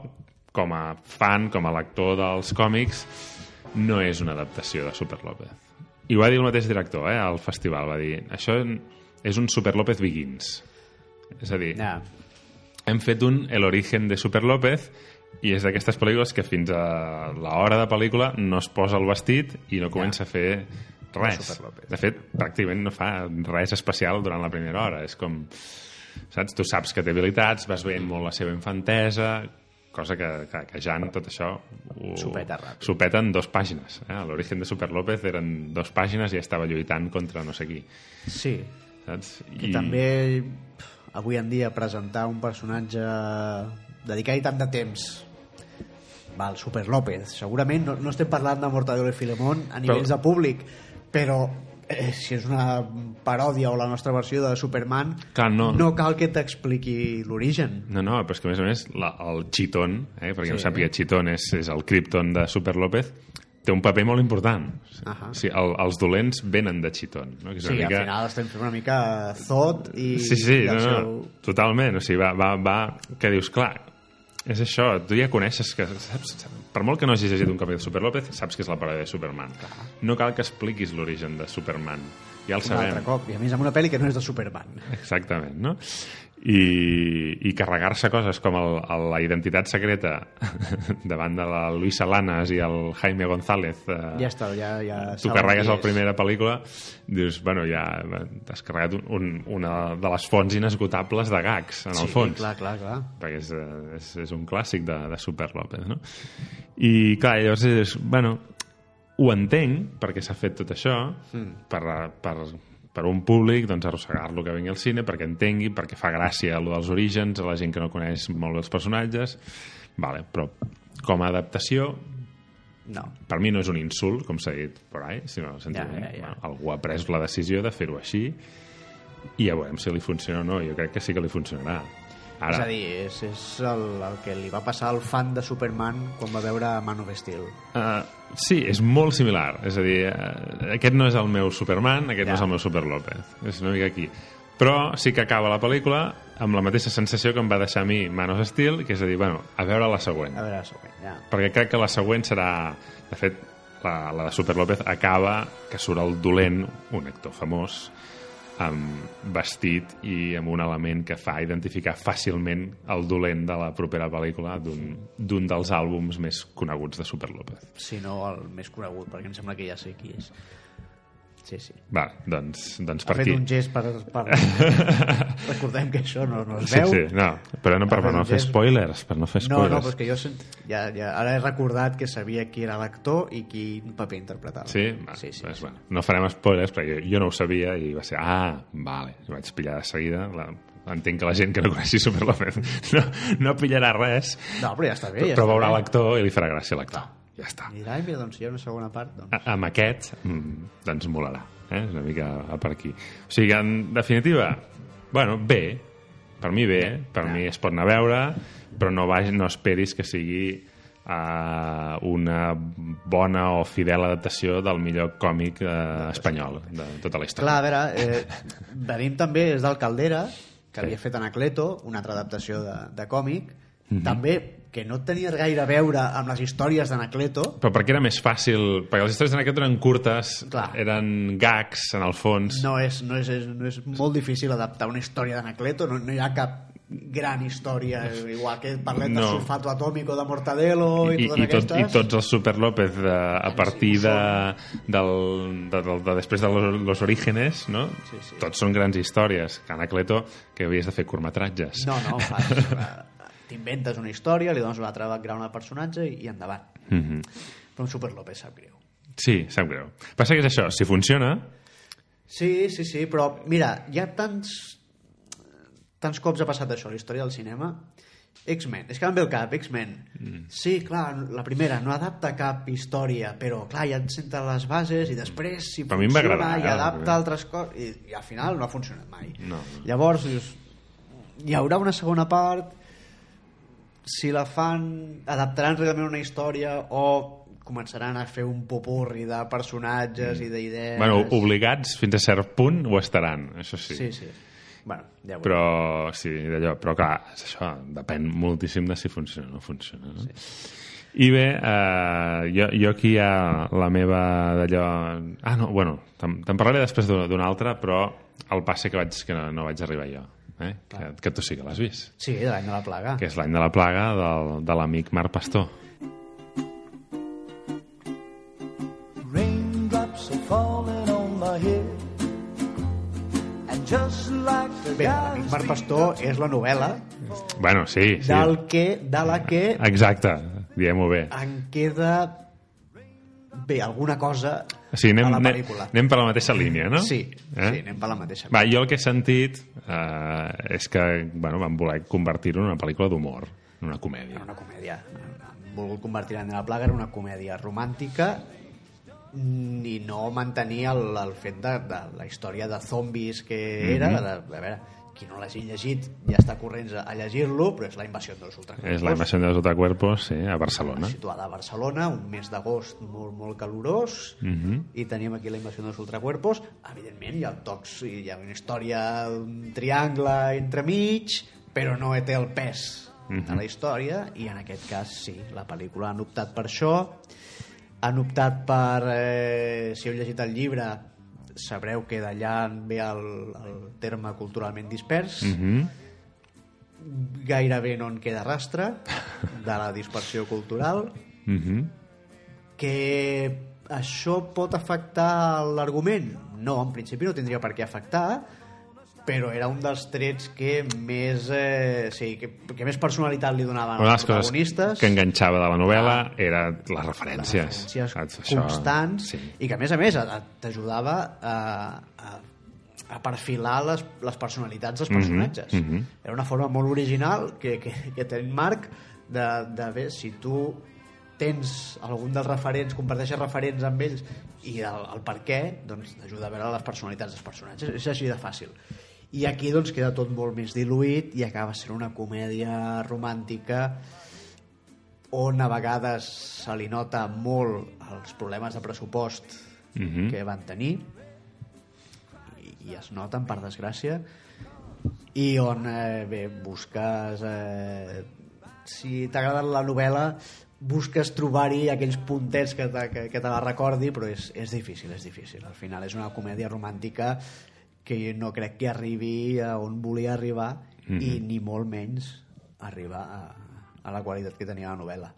com a fan, com a lector dels còmics, no és una adaptació de Super López. I ho va dir el mateix director, eh, al festival. Va dir, això és un Super López Begins. És a dir, Ja. hem fet un El origen de Super López i és d'aquestes pel·lícules que fins a l'hora de pel·lícula no es posa el vestit i no comença a fer res. Super López. De fet, pràcticament no fa res especial durant la primera hora. És com... Saps? Tu saps que té habilitats, vas veient molt la seva infantesa, cosa que, que, que Jan tot això ho, Supeta ràpid. supeta en dos pàgines eh? l'origen de Super López eren dos pàgines i estava lluitant contra no sé qui Sí, saps? que I... també pf, avui en dia presentar un personatge dedicar-hi tant de temps val, Super López segurament no, no estem parlant de Mortadelo i Filemón a nivells de públic però eh, si és una paròdia o la nostra versió de Superman Clar, no. no cal que t'expliqui l'origen No, no, però és que a més a més la, el Chitón, eh, perquè sí. no Sí. sàpiga Chitón és, és el Krypton de Super López, té un paper molt important. Ahà. O sigui, el, els dolents venen de Chitón. No? Que és sí, al final estem fent una mica Zod i, Sí, sí, i no, el no, seu... totalment. O sigui, va, va, va, que dius, clar, és això, tu ja coneixes que, saps, per molt que no hagis llegit un capítol de Super López, saps que és la paròdia de Superman. No cal que expliquis l'origen de Superman. Ja el un sabem. altre cop, i a més amb una pel·li que no és de Superman Exactament, no? I, i carregar-se coses com el, el, la identitat secreta davant de la Luisa Lanas i el Jaime González eh, ja està, ja, ja tu saben carregues qui la és. primera pel·lícula dius, bueno, ja t'has carregat un, un, una de les fonts inesgotables de gags, en el sí, fons clar, clar, clar perquè és, eh, és, és un clàssic de, de Super López, no? I, clar, llavors és, bueno, ho entenc, perquè s'ha fet tot això, mm. per, eh, per, per un públic, doncs, arrossegar-lo que vingui al cine, perquè entengui, perquè fa gràcia allò dels orígens, a la gent que no coneix molt bé els personatges, vale, però com a adaptació, no, per mi no és un insult, com s'ha dit por ahí, sinó en el sentit, Ja, ja, ja. bueno, algú ha pres la decisió de fer-ho així, i ja veurem si li funciona o no, jo crec que sí que li funcionarà. Ara, És a dir, és, és el, el que li va passar al fan de Superman quan va veure Man of Steel. Uh, sí, és molt similar. És a dir, uh, aquest no és el meu Superman, aquest Ja. ja. no és el meu Super López. És una mica aquí. Però sí que acaba la pel·lícula amb la mateixa sensació que em va deixar a mi Man of Steel, que és a dir, bueno, a veure la següent. A veure, següent, ja. Perquè crec que la següent serà... De fet, la, la de Super López acaba que surt el dolent, un actor famós, amb vestit i amb un element que fa identificar fàcilment el dolent de la propera pel·lícula d'un d'un dels àlbums més coneguts de Super López. Si no, el més conegut, perquè em sembla que ja sé qui és. Sí, sí. Va, doncs, doncs Ha per fet aquí. un gest per... per... Recordem que això no, no es Sí, veu. sí, no, però no Ha per, fet per no un fer gest. spoilers, per no fer No, spoilers. no, però és que jo sent... ja, ja, ara he recordat que sabia qui era l'actor i quin paper interpretava. Sí? Va, sí, sí. doncs, Bueno, no farem spoilers, perquè jo, jo no ho sabia i va ser, ah, vale, i vaig pillar de seguida. La, entenc que la gent que no coneixi Super López no, no pillarà res, No, però ja està bé. però, Ja però està veurà bé. l'actor i li farà gràcia a l'actor. Ja està. I dirà, "Ai, mira, doncs si hi ha una segona part, doncs... A- amb aquest mm, doncs molarà eh? És una mica a per aquí o sigui que en definitiva bueno, bé, per mi bé per Ja. mi es pot anar a veure però no, vagi, no esperis que sigui eh, una bona o fidel adaptació del millor còmic eh, espanyol de tota la història Clar, a veure, eh, venim també és del Caldera, que Sí. havia fet Anacleto, una altra adaptació de, de còmic, també que no tenia gaire a veure amb les històries d'Anacleto, Però perquè era més fàcil, perquè les històries d'Anacleto eren curtes, Clar. eren gags en el fons. no és, no és, és, no és molt difícil adaptar una història d'Anacleto, no, no hi ha cap gran història, igual que parlem no. de No. sulfato atòmico de Mortadelo i, I, totes i, tot, I aquestes... tots els Super López eh, a partir de, del, de, de, de després de los, los Orígenes, no? Sí, sí. Tots són grans històries. Anacleto, que havies de fer curtmetratges. No, no, clar, és, eh, t'inventes una història, li dones un altre background al personatge i, i endavant. Mm -hmm. Però un Super López sap greu. Sí, sap greu. Passa que és això, si funciona... Sí, sí, sí, però mira, hi ha tants tants cops ha passat això a la història del cinema X-Men, és que em ve el cap, X-Men mm. sí, clar, la primera no adapta cap història, però clar ja et senta les bases i després si Però Mm. a mi em va funciona agradar, i eh, adapta la altres coses i, i al final no ha funcionat mai No. llavors dius, hi haurà una segona part si la fan adaptaran realment una història o començaran a fer un popurri de personatges mm. i d'idees Bueno, obligats fins a cert punt ho estaran, això sí. Sí, sí. Bueno, ja ho Però... Però, sí, d'allò, però clar, és això depèn moltíssim de si funciona o no funciona. No? Sí. I bé, eh, jo, jo aquí hi ha la meva d'allò... Ah, no, bueno, te'n te'n parlaré després d'una d'una altra, però el passe que, vaig, que no, no vaig arribar jo, eh? que, que tu sí que l'has vist, Sí, de l'any de la plaga. que és l'any de la plaga del, de l'amic Marc Pastor. Raindrops are falling on my head. And just like the Bé, l'amic Marc Pastor és la novel·la Bueno, sí, sí. del que, de la que Exacte, diem-ho bé. en queda bé, alguna cosa O sigui, anem, a la anem- pel·lícula. anem per la mateixa línia, no? Sí, eh? sí, anem per la mateixa. Va, jo el que he sentit eh, és que bueno, van voler convertir-ho en una pel·lícula d'humor, en una comèdia. Era una comèdia. Han volgut convertir en la plaga en una comèdia romàntica mm, i no mantenir el, el fet de, de la història de zombis que Mhm. era. Mm -hmm. de, a veure, qui no l'hagi llegit ja està corrents a, a llegir-lo, però és la invasió dels ultracuerpos. És la invasió dels otacuerpos sí, a Barcelona. situada a Barcelona, un mes d'agost molt, molt calorós, mm -hmm. i teníem aquí la invasió dels ultracuerpos. Evidentment, hi ha tocs, hi ha una història, un triangle entremig, però no té el pes de la història, i en aquest cas sí, la pel·lícula han optat per això, han optat per, eh, si heu llegit el llibre, sabreu que d'allà ve el, el terme culturalment dispers, mm Mm? gairebé no en queda rastre de la dispersió cultural Mm -hmm. que això pot afectar l'argument? No, en principi no tindria per què afectar, però era un dels trets que més, eh, sí, que, que més personalitat li donaven Una de als les coses protagonistes. que enganxava de la novel·la era les referències. Ah. referències Saps? Això- constants Sí. i que a més a més a- a- t'ajudava a, a, a perfilar les, les personalitats dels personatges mhm. era una forma molt original que, que, que té en Marc de, de bé, si tu tens algun dels referents, comparteixes referents amb ells i el, el per què, doncs t'ajuda a veure les personalitats dels personatges. És així de fàcil. I aquí doncs queda tot molt més diluït i acaba sent una comèdia romàntica on a vegades se li nota molt els problemes de pressupost Mhm. que van tenir i, i es noten, per desgràcia, i on eh, bé, busques... Eh, si t'ha agradat la novel·la, busques trobar-hi aquells puntets que te, que, que te la recordi, però és, és difícil, és difícil. Al final és una comèdia romàntica que no crec que arribi a on volia arribar mm -hmm. i ni molt menys arribar a, a la qualitat que tenia la novel·la.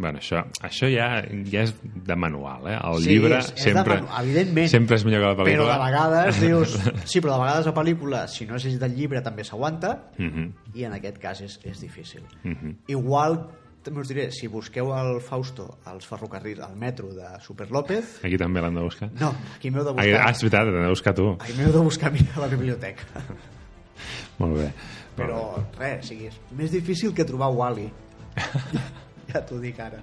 Bueno, això, això ja, ja és de manual, eh? El Sí, llibre és- és de sempre, manual, evidentment. sempre és millor que la pel·lícula. Però de vegades dius... Sí, però de vegades la pel·lícula, si no has llegit el llibre, també s'aguanta, Mhm. i en aquest cas és, és difícil. Mm -hmm. Igual, també us diré, si busqueu el Fausto als ferrocarrils, al metro de Super López, Aquí també l'hem de buscar. no, aquí m'heu de Aquí- Ah, buscar, és veritat, l'hem de buscar tu. aquí m'heu de buscar a mi a la biblioteca. Molt bé. Però res, o sigui, és més difícil que trobar Wally. ja t'ho dic ara.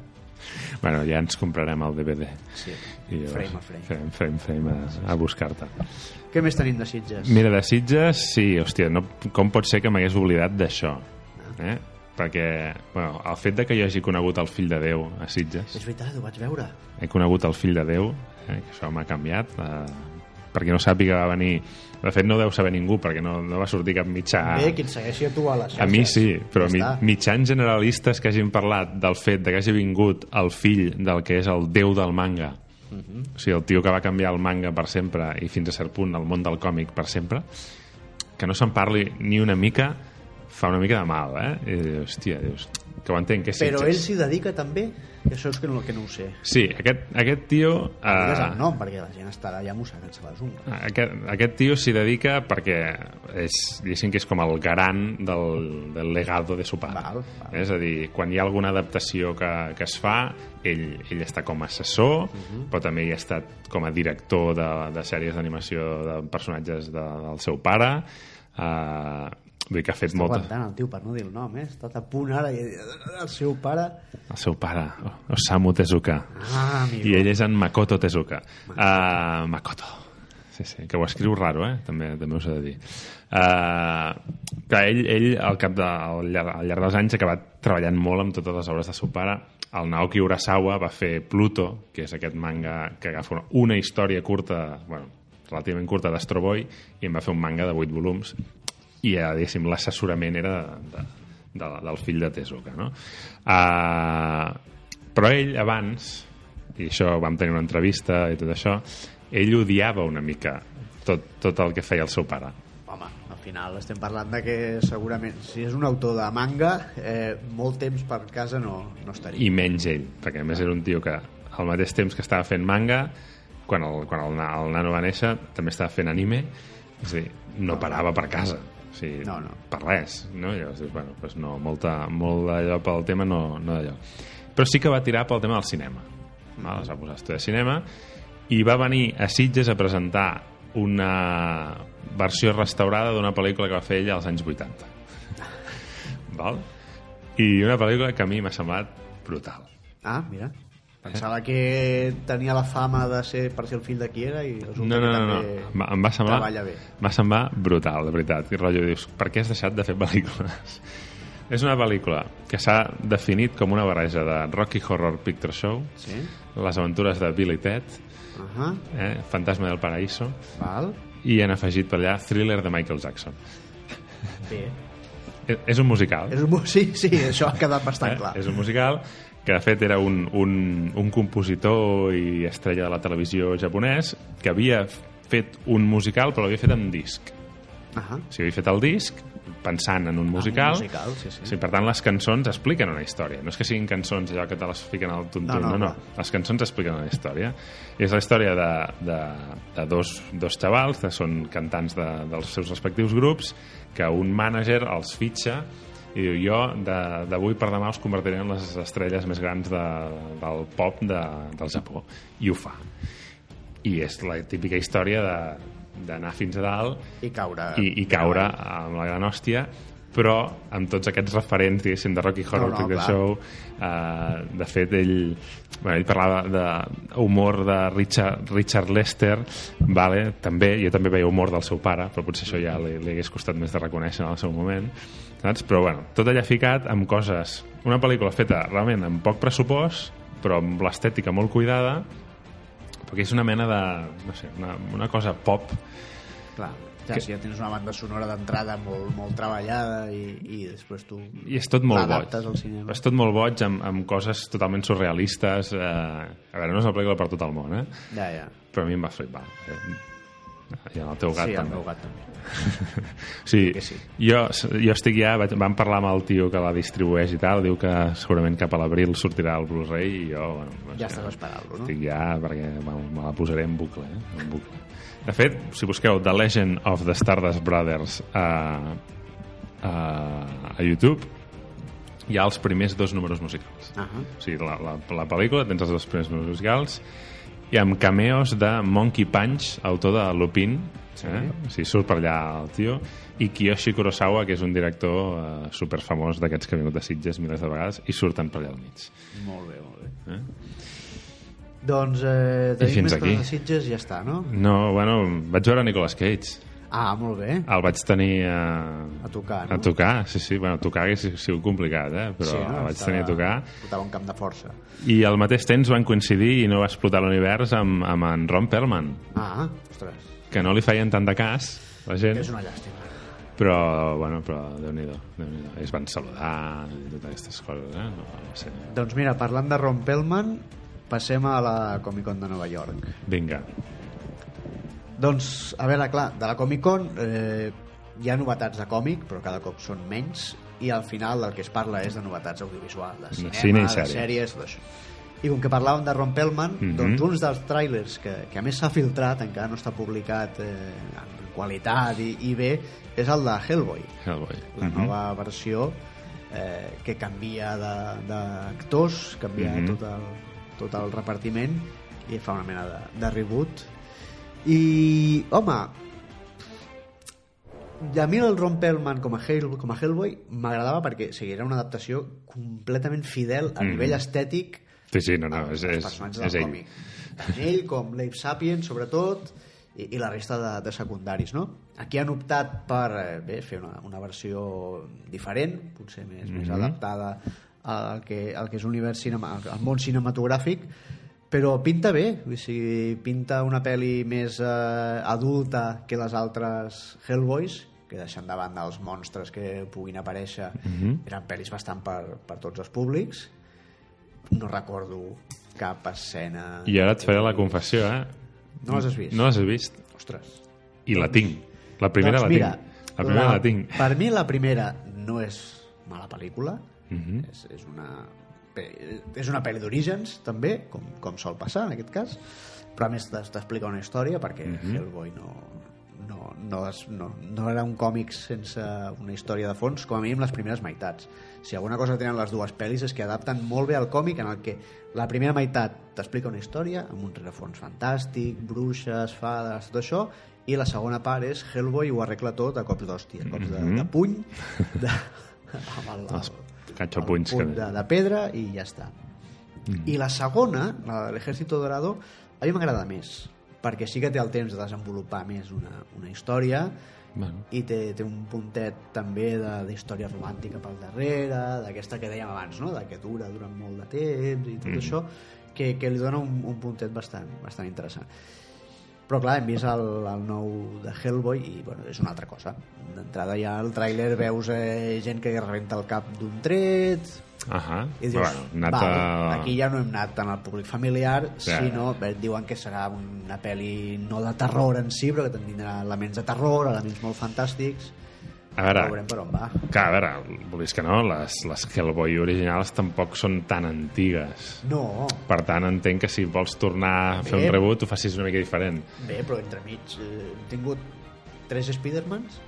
Bueno, ja ens comprarem el DVD. Sí. I llavors Frame a frame. Frame, frame, frame a, a buscar-te. Què més tenim de Sitges? Mira, de Sitges, sí, hòstia, no, com pot ser que m'hagués oblidat d'això? Eh? Perquè, bueno, el fet de que jo hagi conegut el fill de Déu a Sitges, És veritat, ho vaig veure. he conegut el fill de Déu, eh, que això m'ha canviat, eh, per qui no sàpiga va venir de fet no deu saber ningú perquè no, no va sortir cap mitjà Bé, qui et segueixi a tu a les xarxes. Ah. a mi sí, però Ja mi, està. mitjans generalistes que hagin parlat del fet de que hagi vingut el fill del que és el déu del manga Mhm. o sigui, el tio que va canviar el manga per sempre i fins a cert punt el món del còmic per sempre que no se'n parli ni una mica fa una mica de mal, eh? I, dius, hòstia, dius, que ho entenc, que és Però Sitges. ell s'hi dedica també? I això és que no, que no ho sé. Sí, aquest, aquest tio... Uh... Digues eh, el nom, perquè la gent estarà ja mossegant-se les ungles. Aquest, aquest tio s'hi dedica perquè és, diguéssim que és com el garant del, del legado de su pare. Val, val. És a dir, quan hi ha alguna adaptació que, que es fa, ell, ell està com a assessor, uh Mhm. -huh. però també hi ha estat com a director de, de sèries d'animació de personatges de, del seu pare. Uh, vull dir que ha fet molta... Aguantant el tio per no dir el nom, eh? Està a punt ara i el seu pare... El seu pare, O- Osamu Tezuka. Ah, amigo. I ell és en Makoto Tezuka. Uh, Makoto. Sí, sí, que ho escriu raro, eh? També, també us he de dir. Uh, clar, ell, ell al, cap de, al, llarg, al llarg dels anys ha acabat treballant molt amb totes les obres de seu pare. El Naoki Urasawa va fer Pluto, que és aquest manga que agafa una, una història curta, bueno, relativament curta d'Astro Boy, i en va fer un manga de 8 volums i eh, diguéssim l'assessorament era de, de, de, del fill de Tezuka no? uh, però ell abans i això vam tenir una entrevista i tot això ell odiava una mica tot, tot el que feia el seu pare Home, al final estem parlant de que segurament, si és un autor de manga, eh, molt temps per casa no, no estaria. i menys ell, perquè a més era un tio que al mateix temps que estava fent manga quan el, quan el, na- el nano va néixer també estava fent anime és a dir, no parava per casa o sigui, No, no. per res no? I llavors dius, bueno, doncs no, molta, molt d'allò pel tema no, no d'allò però sí que va tirar pel tema del cinema val? es va posar a estudiar cinema i va venir a Sitges a presentar una versió restaurada d'una pel·lícula que va fer ell als anys 80 val? i una pel·lícula que a mi m'ha semblat brutal Ah, mira. Pensava que tenia la fama de ser per ser el fill de qui era i resulta no, no, que no, no. també... Em va- em va semblar, treballa bé. va semblar brutal, de veritat. I rotllo, dius, per què has deixat de fer pel·lícules? És una pel·lícula que s'ha definit com una barreja de Rocky Horror Picture Show, Sí? les aventures de Billy Ted, Uh -huh. eh, Fantasma del Paraíso, Val. i han afegit per allà Thriller de Michael Jackson. Bé. És, és un musical. És un... mu- Sí, sí, això ha quedat bastant Eh? clar. És un musical que de fet era un, un, un compositor i estrella de la televisió japonès que havia fet un musical però l'havia fet amb disc. Uh -huh. O sigui, havia fet el disc pensant en un musical, Ah, musical, sí, sí. O sigui, per tant, les cançons expliquen una història. No és que siguin cançons allò que te les fiquen al tuntun, No, no, no, no. no. Les cançons expliquen una història. És la història de, de, de dos, dos xavals que són cantants de, dels seus respectius grups que un mànager els fitxa i diu, jo de- d'avui per demà us convertiré en les estrelles més grans de, del pop de, del Japó. I ho fa. I és la típica història de d'anar fins a dalt I caure... i, i caure amb la gran hòstia però amb tots aquests referents diguéssim de Rocky No, Horror no, Picture clar. Show eh, de fet ell bueno, ell parlava de humor de Richard, Richard Lester vale? també, jo també veia humor del seu pare però potser això ja li, li hagués costat més de reconèixer en el seu moment saps? però bueno, tot allà ficat amb coses una pel·lícula feta realment amb poc pressupost però amb l'estètica molt cuidada perquè és una mena de, no sé, una, una cosa pop Clar, ja, Que- si ja tens una banda sonora d'entrada molt, molt treballada i, i després tu i és tot molt boig. l'adaptes al cinema. És tot molt boig amb, amb coses totalment surrealistes. Eh... A veure, no és una pel·lícula per tot el món, eh? Ja, ja. Però a mi em va flipar. Eh, I en el teu gat sí, el també. meu gat també. Sí, que sí. jo, jo estic ja... Vaig, vam parlar amb el tio que la distribueix i tal, diu que segurament cap a l'abril sortirà el Blu-ray i jo... Bueno, doncs no Ja sé, estàs esperant-lo, no? Estic ja perquè me, me la posaré en bucle, eh? en bucle. De fet, si busqueu The Legend of the Stardust Brothers a, a, a YouTube, hi ha els primers dos números musicals. Ah -huh. O sigui, la, la, la pel·lícula, tens els dos primers números musicals, i amb cameos de Monkey Punch, autor de Lupin, sí. eh? o sigui, surt per allà el tio, i Kiyoshi Kurosawa, que és un director eh, superfamós d'aquests que ha vingut de Sitges milers de vegades, i surten per allà al mig. Molt bé, molt bé. Eh? Doncs eh, tenim fins més aquí. coses de Sitges i ja està, no? No, bueno, vaig veure Nicolas Cage. Ah, molt bé. El vaig tenir a... A tocar, no? A tocar, sí, sí. Bueno, tocar hagués sigut complicat, eh? Però Sí, no? el vaig Estava- tenir a tocar. Portava un camp de força. I al mateix temps van coincidir i no va explotar l'univers amb, amb en Ron Perlman, Ah, ostres. que no li feien tant de cas, la gent, És una llàstima. però, bueno, però Déu-n'hi-do, déu nhi Ells van saludar i totes aquestes coses, eh? No, no sé. Doncs mira, parlant de Ron Pellman, passem a la Comic-Con de Nova York. Vinga, Doncs, a veure, clar, de la Comic-Con eh, hi ha novetats de còmic, però cada cop són menys, i al final del que es parla és de novetats audiovisuals, de cinema, cine i de sèries. sèries, tot això. I com que parlàvem de Ron Pellman, mm -hmm. Mhm. doncs uns dels trailers que, que a més s'ha filtrat, encara no està publicat eh, en qualitat i, i bé, és el de Hellboy, Hellboy. la nova versió eh, que canvia de- d'actors, canvia Mhm. tot, el, tot el repartiment i fa una mena de, de reboot. I, home, i a mi el Ron Perlman com a, Hell, com a Hellboy m'agradava perquè o sigui, era una adaptació completament fidel a nivell estètic Sí, sí, no, no, és, Ah, els és, personatges és del ell. còmic. Tant ell com l'Ape Sapien, sobretot, i, i la resta de, de secundaris, no? Aquí han optat per eh, bé, fer una, una versió diferent, potser més, mm -hmm. Mhm. més adaptada al que, al que és l'univers cinema, al, al món cinematogràfic, però pinta bé, o sigui, pinta una pel·li més eh, adulta que les altres Hellboys, que deixant de banda els monstres que puguin aparèixer, Mhm. eren pel·lis bastant per, per tots els públics, no recordo cap escena... I ara et faré la confessió, eh? No les has vist? No les has vist? Ostres. I la tinc. La primera Doncs la tinc. La primera la, tinc. Per mi la primera no és mala pel·lícula, Mhm. és, és una pe- és una pel·li d'orígens també, com, com sol passar en aquest cas però a més t'es- t'explica una història perquè Hellboy no, no, no, es, no, no era un còmic sense una història de fons com a mínim les primeres meitats si alguna cosa tenen les dues pel·lis és que adapten molt bé al còmic en el que la primera meitat t'explica una història amb un rerefons fantàstic, bruixes, fades, tot això i la segona part és Hellboy ho arregla tot a cops d'hòstia, a cops de, de puny de, amb el, el, Catxapunys el que... punt de, de pedra i ja està. Mm. I la segona, la de l'Ejército Dorado, a mi m'agrada més, perquè sí que té el temps de desenvolupar més una, una història Bueno. i té, té un puntet també de- d'història romàntica pel darrere, d'aquesta que dèiem abans, no? de que dura durant molt de temps i tot mm. això, que, que li dona un, un puntet bastant, bastant interessant. Però clar, hem vist el, el nou de Hellboy i bueno, és una altra cosa. D'entrada ja al tràiler veus eh, gent que rebenta el cap d'un tret Ahà. i dius, Bueno, anat "Val, a... aquí ja no hem anat tant al públic familiar, Sí. sinó bé, diuen que serà una pel·li no de terror en si, però que tindrà elements de terror, elements molt fantàstics. A veure, Veurem per on va. que, a veure, vulguis que no, les, les Hellboy originals tampoc són tan antigues. No, Per tant, entenc que si vols tornar a fer Bé. un rebut ho facis una mica diferent. bé, però entremig eh, hem tingut tres Spidermans,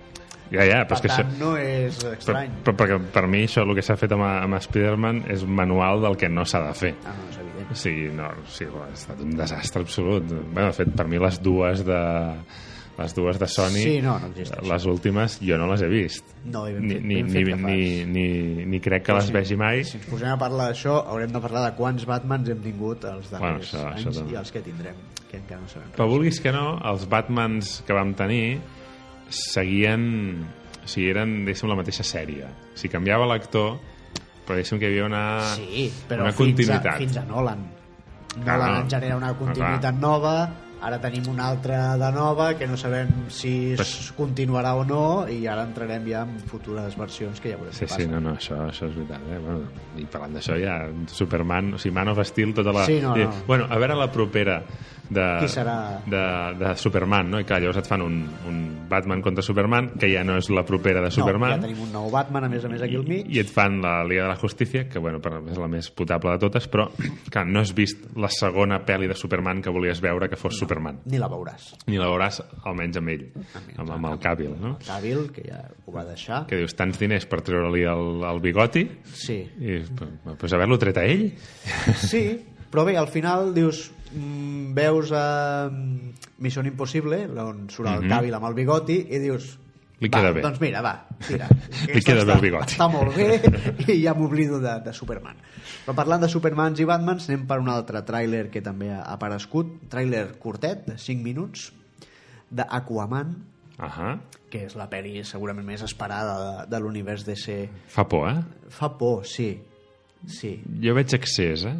Ja, ja, per però és que això... tant no és Per, estrany. per, perquè per mi això el que s'ha fet amb, amb Spider-Man és manual del que no s'ha de fer. Ah, no, és evident. O sigui, no, o sigui, ha estat un desastre absolut. Bé, de fet, per mi les dues de, les dues de Sony, Sí, no, no existeix. les últimes, jo no les he vist. No, i ben eh, Ni, fet- ni, ben fet ni, que fas. ni, ni, ni crec que les vegi mai. Si ens posem a parlar d'això, haurem de parlar de quants Batmans hem tingut els Bueno, darrers això- anys això també. i els que tindrem, que encara no sabem res. Però vulguis que no, els Batmans que vam tenir seguien... O sigui, eren, diguéssim, la mateixa sèrie. O sigui, canviava l'actor, però diguéssim que hi havia una, Sí, però Ah. una fins a, continuïtat. fins a Nolan. Clar, Nolan no. en genera una Clar. continuïtat nova, ara tenim una altra de nova que no sabem si es continuarà o no i ara entrarem ja en futures versions que ja veurem Sí, què sí, passa. no, no, això, això és veritat. Eh? Bueno, I parlant d'això hi ha Superman, o sigui, Man of Steel, tota la... Sí, no, i- no. Bueno, a veure la propera de, Qui serà? de, de Superman, no? I clar, llavors et fan un, un Batman contra Superman, que ja no és la propera de No, ja Superman. tenim un nou Batman, a més a més, aquí al mig. i et fan la Liga de la Justícia, que bueno, per, és la més potable de totes, però que no has vist la segona pel·li de Superman que volies veure que fos no. Superman. Ni la veuràs. Ni la veuràs almenys amb ell, amb, amb el Cavill, no? Cavill, que ja ho va deixar. Que dius, tants diners per treure-li el, el bigoti, Sí, i pues, haver-lo tret a ell? Sí, però bé, al final dius, mm, veus a Missió Impossible, on surt el Càbil amb el bigoti, i dius... Mhm. Li va, queda bé. Doncs mira, va, tira. Li Aquesta queda bé està- el bigoti. Està molt bé i ja m'oblido de, de Superman. Però parlant de Supermans i Batmans, anem per un altre tràiler que també ha aparegut, tràiler curtet, de 5 minuts, d'Aquaman, Ahà. que és la pel·li segurament més esperada de, de l'univers DC. Fa por, eh? Fa por, sí. Sí. Jo veig accés, eh?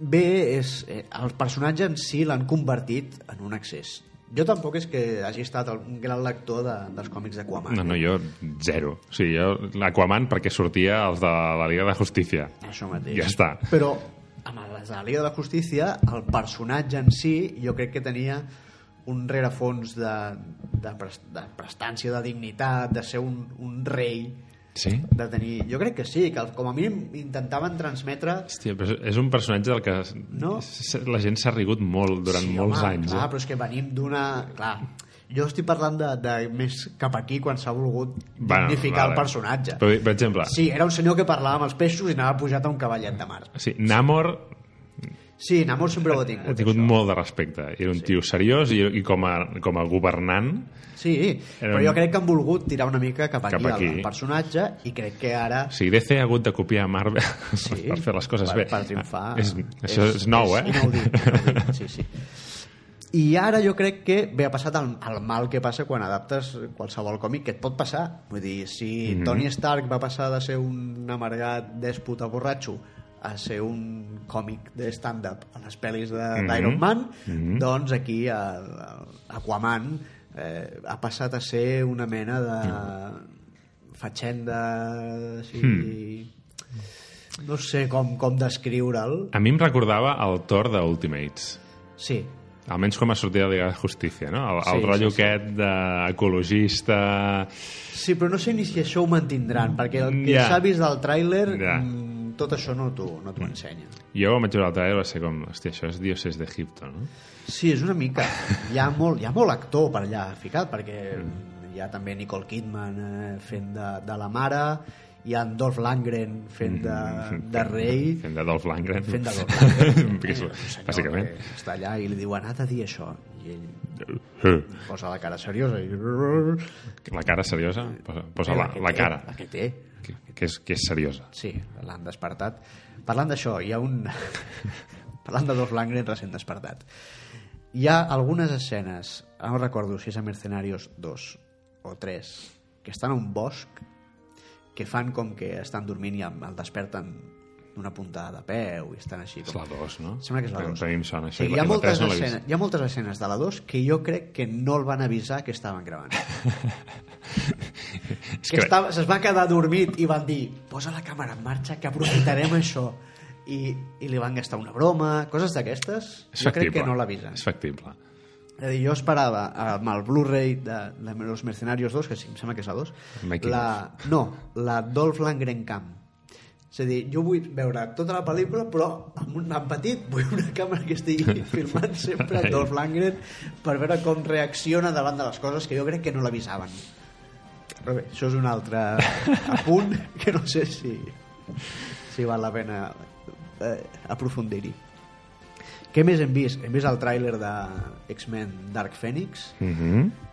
Bé, és, eh, el personatge en si l'han convertit en un accés. Jo tampoc és que hagi estat el- un gran lector de, dels còmics d'Aquaman. No, no, jo zero. O sigui, jo l'Aquaman perquè sortia els de la Liga de la Justícia. Això mateix. Ja està. Però amb les de la Liga de la Justícia, el personatge en si jo crec que tenia un rerefons de, de, pres- de prestància, de dignitat, de ser un, un rei, Sí? de tenir... Jo crec que sí, que com a mínim intentaven transmetre... Hòstia, però és un personatge del que No? s- la gent s'ha rigut molt durant sí, molts home, anys. Clar, eh? però és que venim d'una... Clar, jo estic parlant de, de més cap aquí quan s'ha volgut Bueno, dignificar vale. el personatge. Però, per exemple, sí. Sí, era un senyor que parlava amb els peixos i anava pujat a un cavallet de mar. Sí, Namor Sí, Namor sempre ho ha ha tingut. tingut molt de respecte. Era un sí. tio seriós i, i com, a, com a governant Sí, Era però un- jo crec que han volgut tirar una mica cap aquí, Cap aquí. El, el personatge i crec que ara... O sigui, DC ha hagut de copiar Marvel sí, per fer les coses per, bé. Ah, Per triomfar. És, això és, nou, és eh? Inaudit, inaudit, sí, sí. I ara jo crec que bé ha passat el, el mal que passa quan adaptes qualsevol còmic que et pot passar. Vull dir, si Mhm. mm -hmm. Tony Stark va passar de ser un amargat dèspota borratxo a ser un còmic de stand-up a les pel·lis de- Mhm. d'Iron mm -hmm. Man, mm -hmm. doncs aquí a, a Aquaman eh, ha passat a ser una mena de fatxenda així... Hmm. No sé com, com descriure'l. A mi em recordava el Thor de Ultimates. Sí, Almenys com a sortida de la Liga de Justícia, no? El, el Sí, rotllo sí, sí. aquest d'ecologista... Sí, però no sé ni si això ho mantindran, perquè el que Ja. s'ha vist del tràiler, Ja. mm, tot això no t'ho no t'ho ensenya. Jo quan vaig veure el trailer va ser com, hòstia, això és Dioses d'Egipto, no? Sí, és una mica... Hi ha molt, hi ha molt actor per allà ficat, perquè Mm. hi ha també Nicole Kidman eh, fent de, de la mare, hi ha Dolph Lundgren fent de, de rei, Mm, Fent de Dolph Lundgren. fent de Dolph Lundgren. Perquè és- Un senyor Bàsicament. que Està allà i li diuen, ha de dir això. I ell Eh, posa la cara seriosa i... La cara seriosa? Posa, posa la, que la té, cara, La que té. que, que, és, que és seriosa. Sí, l'han despertat. Parlant d'això, hi ha un... Parlant de Dolph Lundgren recent despertat. Hi ha algunes escenes, ara no recordo si és a Mercenarios 2 o 3, que estan a un bosc que fan com que estan dormint i el desperten d'una puntada de peu i estan així. És Com... la 2, no? Sembla que és la 2. A mi em sona això. Sí, I hi, ha la- i la moltes tres no l'he vist. escenes, hi ha moltes escenes de la 2 que jo crec que no el van avisar que estaven gravant. És que estava, es va quedar dormit i van dir posa la càmera en marxa que aprofitarem això I, i li van gastar una broma coses d'aquestes és jo crec factible. que no l'avisen És factible. és a dir, jo esperava amb el Blu-ray de, de Los Mercenarios 2 que sí, em sembla que és la 2 Making la, no, la Dolph Lundgren Camp és a dir, jo vull veure tota la pel·lícula però amb un nen petit vull una càmera que estigui filmant sempre Ai. Dolph Lundgren per veure com reacciona davant de les coses que jo crec que no l'avisaven però bé, això és un altre apunt que no sé si, si val la pena eh, aprofundir-hi. Què més hem vist? Hem vist el tràiler de X-Men Dark Phoenix. Mm Mhm. -hmm.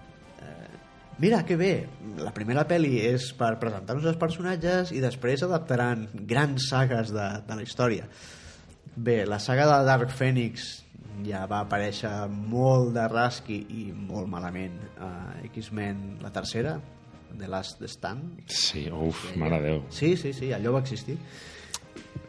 Mira, que bé! La primera pel·li és per presentar-nos els personatges i després adaptaran grans sagues de, de la història. Bé, la saga de Dark Phoenix ja va aparèixer molt de rasqui i molt malament a X-Men la tercera, The Last Stand, Sí, uf, mare de Déu. Sí, sí, sí, allò va existir.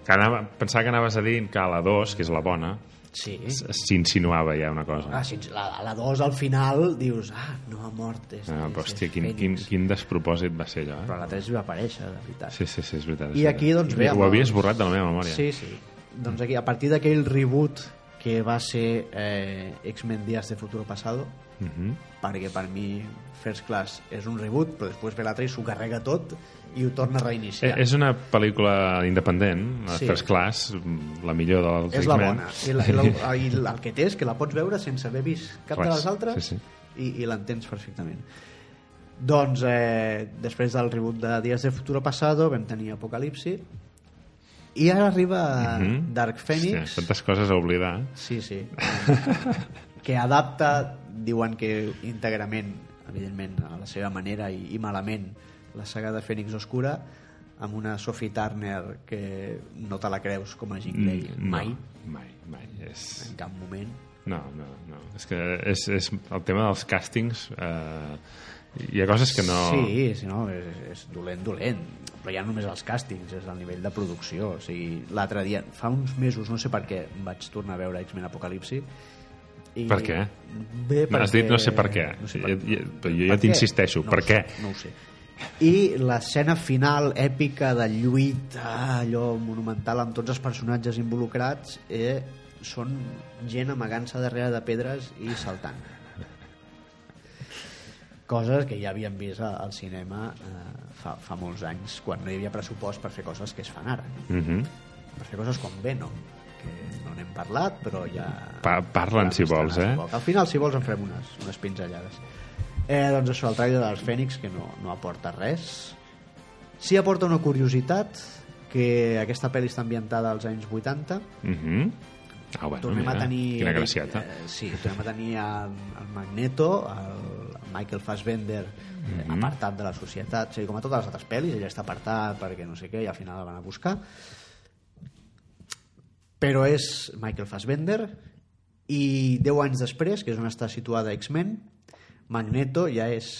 Que anava, pensava que anaves a dir que a la 2, que és la bona, Sí. s- s'insinuava ja una cosa. Ah, sí, la, a la 2 al final dius, ah, no ha mort. És, Ah, és- però és hòstia, quin, Fènix. quin, quin despropòsit va ser allò, eh? Però la 3 va aparèixer, de veritat. Sí, sí, sí, és veritat. I és aquí, veritat. doncs, ve amb Ho el- havia esborrat de la meva memòria. sí, sí. Doncs aquí, a partir d'aquell reboot que va ser eh, X-Men Días de Futuro Pasado, Mhm. perquè per mi First Class és un reboot, però després ve l'altre i s'ho carrega tot i ho torna a Eh, reiniciar. És una pel·lícula independent, la Sí. First Class, mm, la millor dels és la X-Men. bona. I, la, i, la, i la- el que té és que la pots veure sense haver vist cap Res, de les altres sí, sí. i, i l'entens perfectament. Doncs, eh, després del reboot de Dies de Futuro Pasado, vam tenir Apocalipsi, i ara arriba Mhm. Dark Phoenix, Hòstia, tantes coses a oblidar. sí, sí, que adapta, diuen que íntegrament, evidentment, a la seva manera i, i malament, la saga de Fènix Oscura, amb una Sophie Turner que no te la creus com a Jean Grey, Mm, No, mai mai, mai. És... en cap moment No, no, no. És que és, és el tema dels càstings... Eh, hi ha coses que no... Sí, si no, és, és dolent, dolent. Però ja no només els càstings, és el nivell de producció. O sigui, l'altre dia, fa uns mesos, no sé per què, vaig tornar a veure X-Men Apocalipsi. I Per què? Bé, No, has dit no sé per què. No sé per Jo- jo- però jo Per què? ja t'insisteixo, no per ho què? Sé, no ho sé. I l'escena final èpica de lluita, allò monumental, amb tots els personatges involucrats, eh, són gent amagant-se darrere de pedres i saltant. Coses que ja havíem vist a- al cinema eh, fa, fa molts anys, quan no hi havia pressupost per fer coses que es fan ara. Mm -hmm. Per fer coses com Venom, que no n'hem parlat, però ja... Pa Parla'n, si Estrenar, vols, eh? vol. Al final, si vols, en farem unes, unes pinzellades. Eh, doncs això, el trailer dels Fènix, que no, no aporta res. Sí aporta una curiositat, que aquesta pel·li està ambientada als anys 80. Mhm. Ah, bueno, Tornem a mira, tenir... Quina gracieta. Eh, sí, tornem a tenir el, el Magneto, el Michael Fassbender, eh, Mhm. apartat de la societat. O sigui, com a totes les altres pel·lis, ell està apartat perquè no sé què, i al final el van a buscar però és Michael Fassbender i 10 anys després, que és on està situada X-Men, Magneto ja és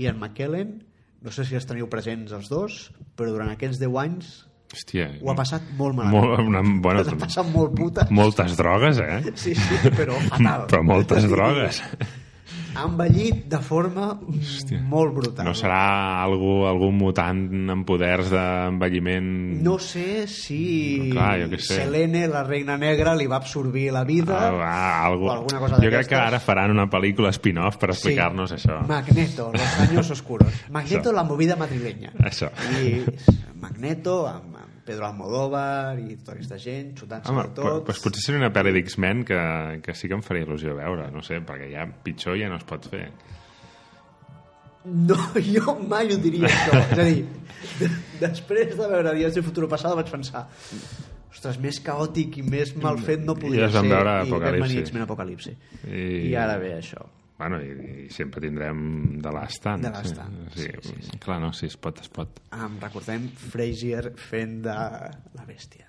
Ian McKellen no sé si els teniu presents els dos però durant aquests 10 anys Hòstia. ho ha passat molt malament Mm. Molt, una bona... Ho ha passat molt puta Moltes drogues, eh? sí, sí, però fatal Però moltes drogues. ha envellit de forma molt brutal No serà algú, algun mutant amb poders d'envelliment... No sé si Clar, jo què sé. Selene, la reina negra, li va absorbir la vida Ah, va, algú... o alguna cosa jo crec que d'aquestes. ara faran una pel·lícula spin-off per explicar-nos això. Magneto, los años oscuros. Magneto, Això. la movida madrileña. Això. I Magneto, amb, amb Pedro Almodóvar i tota aquesta gent, xutant-se Home, de po- tot. doncs potser seria una pel·li d'X-Men que, que sí que em faria il·lusió veure, no sé, perquè ja pitjor ja no es pot fer. No, jo mai ho diria, això. És a dir, de- després de veure Dies de Futuro Passado vaig pensar ostres, més caòtic i més mal fet no Mm, I podia es ser. van veure I vam Apocalipsi. venir X-Men Apocalipsi. I... I- I ara ve això. Bueno, i, i sempre tindrem de l'estant. The Last Stand, Sí, sí, sí, sí. Clar, no, sí, es pot, es pot. Em recordem Frasier fent de la bèstia.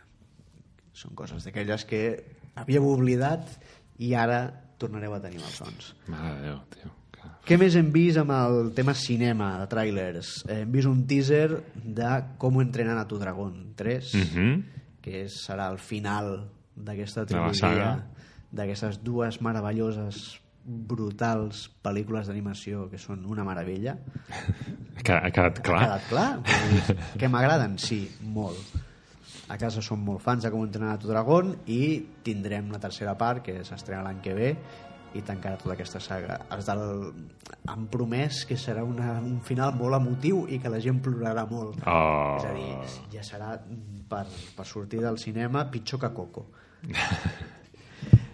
Són coses d'aquelles que havíeu oblidat i ara tornareu a tenir malsons. Mare de Déu, tio. clar. Què més hem vist amb el tema cinema, de trailers? Eh, Hem vist un teaser de Com entrenen a tu dragón 3, mm Mhm. que és, serà el final d'aquesta De la trilogia, saga. d'aquestes dues meravelloses, brutals pel·lícules d'animació que són una meravella. Ha quedat- ha quedat clar? Ha quedat clar? Vull dir, que m'agraden? Sí, molt. A casa som molt fans de Com entrenar a tu dragon i tindrem la tercera part que s'estrena l'any que ve i tancarà tota aquesta saga. Els del... han promès que serà una, un final molt emotiu i que la gent plorarà molt. Oh. És a dir, ja serà per, per sortir del cinema pitjor que Coco.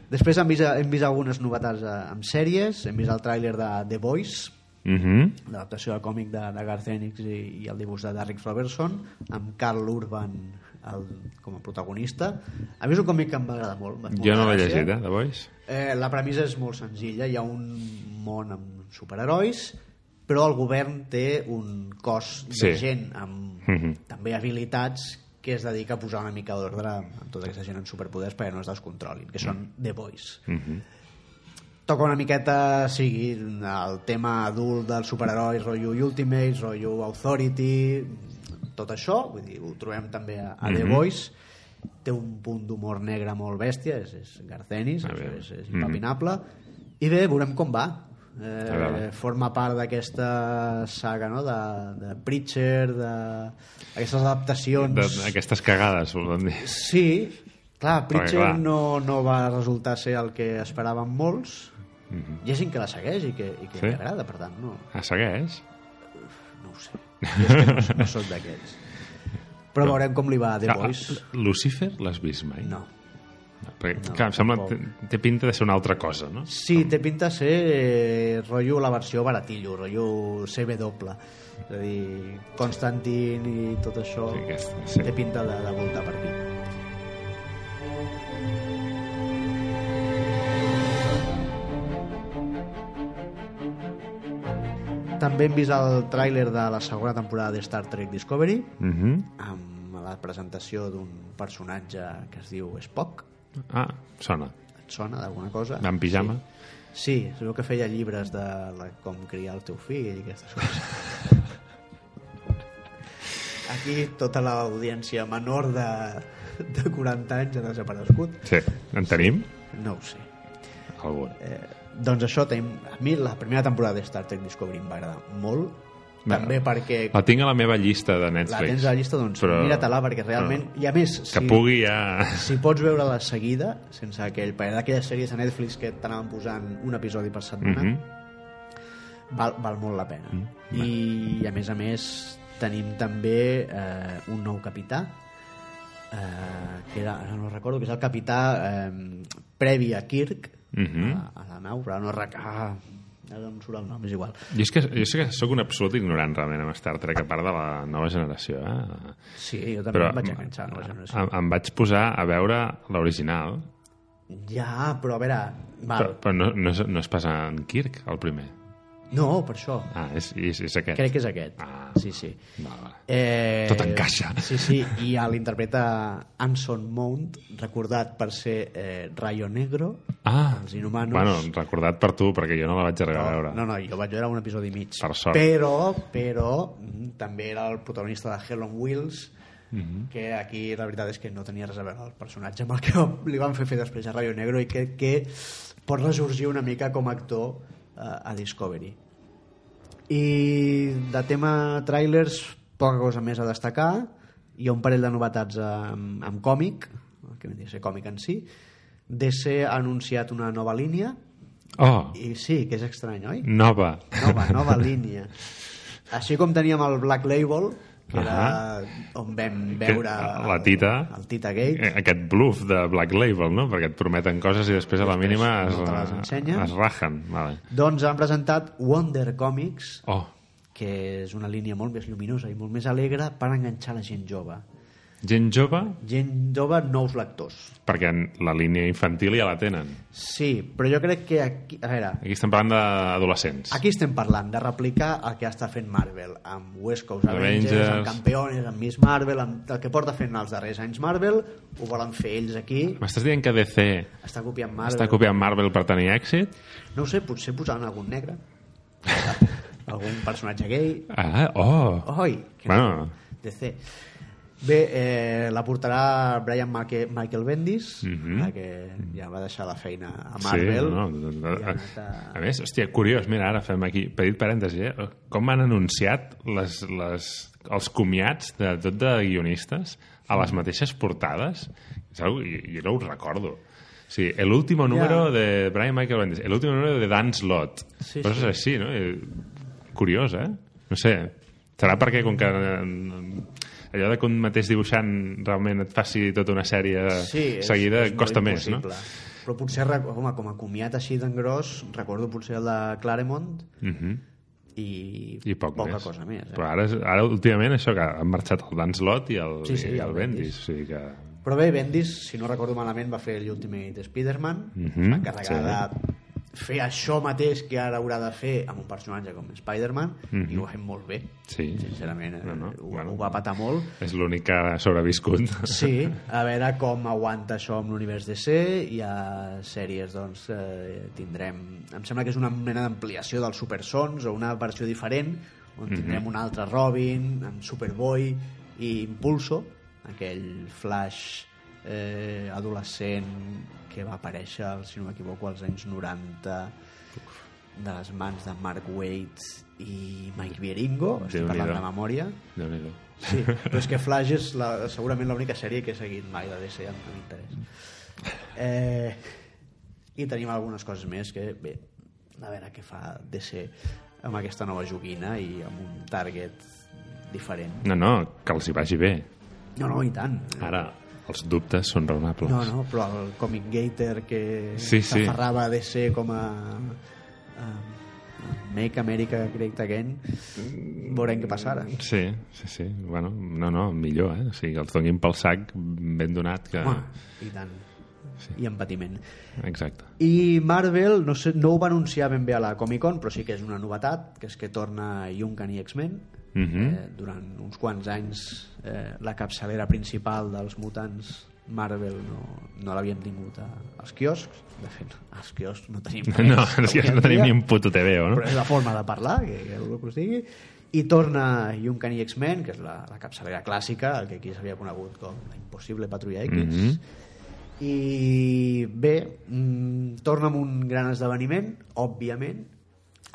Després hem vist, hem vist algunes novetats eh, amb sèries, hem vist el tràiler de The Voice, Mhm. l'adaptació del còmic de, de Garth Enix i, i el dibuix de Derrick Robertson amb Carl Urban el, com a protagonista a mi és un còmic que em va agradar molt em va fer Jo no molta l'he gràcia. llegit, eh, The Voice. eh, la premissa és molt senzilla hi ha un món amb superherois però el govern té un cos de Sí. gent amb Mhm. també habilitats que es dedica a posar una mica d'ordre amb tota aquesta gent amb superpoders perquè no es descontrolin, que Mm. són The Boys Mhm. toca una miqueta sigui el tema adult dels superherois, rotllo Ultimates, rotllo Authority, tot això, vull dir, ho trobem també a, a The Mhm. Voice, té un punt d'humor negre molt bèstia, és, és Garcenis, Ah, és, bé. és, és Mhm. impapinable, i bé, veurem com va. A Eh, veure. forma part d'aquesta saga no? de, de Preacher, de- d'aquestes adaptacions... De- Aquestes cagades, volem dir. Sí, clar, Perquè, Preacher clar. No, no va resultar ser el que esperaven molts. Hi ha gent que la segueix i que, i que Mhm. Sí? li agrada, per tant, no, Ah, segueix? no ho sé. Jo és que no, no soc d'aquests. Però veurem com li va a The Ah, Voice. ah, Lucifer l'has vist mai? No. Perquè, clar, em sembla, té, té pinta de ser una altra cosa, no? Sí, té pinta de ser eh, rotllo la versió baratillo, rotllo CW. És a dir, Constantine i tot això Sí, aquesta, sí. té pinta de, de voltar per aquí. També hem vist el tràiler de la segona temporada de Star Trek Discovery Mhm. amb la presentació d'un personatge que es diu Spock Ah, sona. et sona d'alguna cosa. Va en pijama? Sí, es veu que feia llibres de la, com criar el teu fill i aquestes coses. Aquí tota l'audiència menor de, de 40 anys ha desaparegut. Sí. En tenim? No ho sé. Algun. Eh, doncs això, tenim, a mi la primera temporada de Star Trek Discovery em va agradar molt. Va, També perquè La tinc a la meva llista de Netflix. la tens a la llista, doncs però- mira-te-la, perquè realment... I a més, Que si, pugui ja... si pots veure-la seguida, sense aquell parer d'aquelles sèries de Netflix que t'anaven posant un episodi per setmana, Mhm. val, val molt la pena. Mm, I, a més a més, tenim també eh, un nou capità, eh, que era, ara no recordo, que és el capità eh, previ a Kirk, Mhm. a, a la nau, però no rec... Ah, ara no em surt el nom, és igual. Jo és que, jo sé que sóc un absolut ignorant realment amb Star Trek, a part de la nova generació. Eh? Sí, jo també Però em vaig enganxar. No, no, em, em vaig posar a veure l'original, ja, però a veure... Val. però, però no, no, és, no és pas en Kirk, el primer. No, per això. Ah, és, és, és aquest. Crec que és aquest. Ah. Sí, sí. Vale, vale. Eh, Tot encaixa. Sí, sí, i ja l'interpreta Anson Mount, recordat per ser eh, Rayo Negro. Ah, Els inhumanos. Bueno, recordat per tu, perquè jo no la vaig arribar a veure. No, no, jo vaig veure un episodi i mig. Per sort. Però, però, mm, també era el protagonista de Hell on Wheels, Mhm. que aquí la veritat és que no tenia res a veure el personatge amb el que li van fer fer després a Rayo Negro i que, que pot resorgir una mica com a actor eh, a Discovery. I de tema trailers, poca cosa més a destacar. Hi ha un parell de novetats eh, amb, amb còmic, que vindria a ser còmic en si. DC ha anunciat una nova línia, Oh, i sí, que és estrany, oi? nova. Nova, nova línia. Així com teníem el Black Label, que era Ahà. on vam veure... Que- eh, la Tita. El, el Tita Gate. Eh, Aquest bluff de Black Label, no? Perquè et prometen coses i després a la mínima es, no te les ensenyen. es rajen. Vale. Doncs han presentat Wonder Comics, Oh, que és una línia molt més lluminosa i molt més alegre per enganxar la gent jove. gent jove, Gent jove, nous lectors. perquè la línia infantil ja la tenen. Sí, però jo crec que aquí... A veure, Aquí estem parlant d'adolescents. Aquí estem parlant de replicar el que està fent Marvel amb West Coast Avengers, Avengers. amb Campeones, amb Miss Marvel, amb el que porta fent els darrers anys Marvel, ho volen fer ells aquí, M'estàs dient que DC està copiant Marvel. està copiant Marvel per tenir èxit? No ho sé, potser posaran algun negre, algun personatge gay, Ah, oh! oi, que Bueno, DC. Bé, eh, la portarà Brian Michael, Michael Bendis, Mhm. eh, que ja va deixar la feina a Marvel. Sí, no, no, no, i ha a, anat a- a més, hòstia, curiós, mira, ara fem aquí, petit parèntesi, eh? com han anunciat les, les, els comiats de tot de guionistes a les mateixes portades? És algo, jo, jo no ho recordo. Sí, el último número de Brian Michael Bendis, el último número de Dan Slott. Sí, Coses sí. així, no? Eh, Curiós, eh? No sé, serà perquè com que eh, allò de que un mateix dibuixant realment et faci tota una sèrie sí, és, seguida és molt costa més, no? impossible. Però potser, rec- home, com a comiat així d'en gros, recordo potser el de Claremont Mhm. i, I poc poca més. cosa més. Eh? Però ara, ara, últimament, això que han marxat el Dan Slott i el, Sí, sí, i el el Bendis. O sigui que... Però bé, Bendis, si no recordo malament, va fer l'Ultimate Spider-Man, Mhm, es va encarregar sí. de fer això mateix que ara haurà de fer amb un personatge com Spider-Man, i ho va fer molt bé, Mhm. Sí, sincerament. eh, No, no, Ho, bueno. ho va patar molt. és l'únic que ha sobreviscut. Sí, a veure com aguanta això amb l'univers DC hi ha sèries doncs eh, tindrem, em sembla que és una mena d'ampliació dels Supersons o una versió diferent on tindrem un altre Robin amb Superboy i Impulso aquell flash eh, adolescent que va aparèixer, si no m'equivoco, als anys 90 de les mans de Mark Waid i Mike Vieringo, estic Déu-n'hi-do. parlant de memòria déu nhi Sí, però és que Flash és la, segurament l'única sèrie que he seguit mai de DC amb, amb interès. Eh, I tenim algunes coses més que, bé, a veure què fa DC amb aquesta nova joguina i amb un target diferent. No, no, que els hi vagi bé. No, no, i tant. Ara, els dubtes són raonables. Ah. No, no, però el Comic Gator que Sí, sí. s'aferrava a DC com a... a Make America Great Again veurem què passa ara Mm, Sí, sí, sí. Bueno, no, no, millor, eh? O sigui, que els donin pel sac ben donat que... Home, i tant i amb patiment Exacte. I Marvel, no, sé, no ho va anunciar ben bé a la Comic-Con, però sí que és una novetat, que és que torna Junkan i X-Men. Mhm. eh, durant uns quants anys eh, la capçalera principal dels mutants Marvel no, no l'havíem tingut a, als quioscs. De fet, als quioscs no tenim res. No, és que no avui en tenim dia, ni un puto TVO, eh, Però no? és la forma de parlar, que, que el que us digui. I torna Uncanny X-Men, que és la, la capçalera clàssica, el que aquí s'havia conegut com la impossible patrulla X. Mhm. I bé, mm, torna amb un gran esdeveniment, òbviament.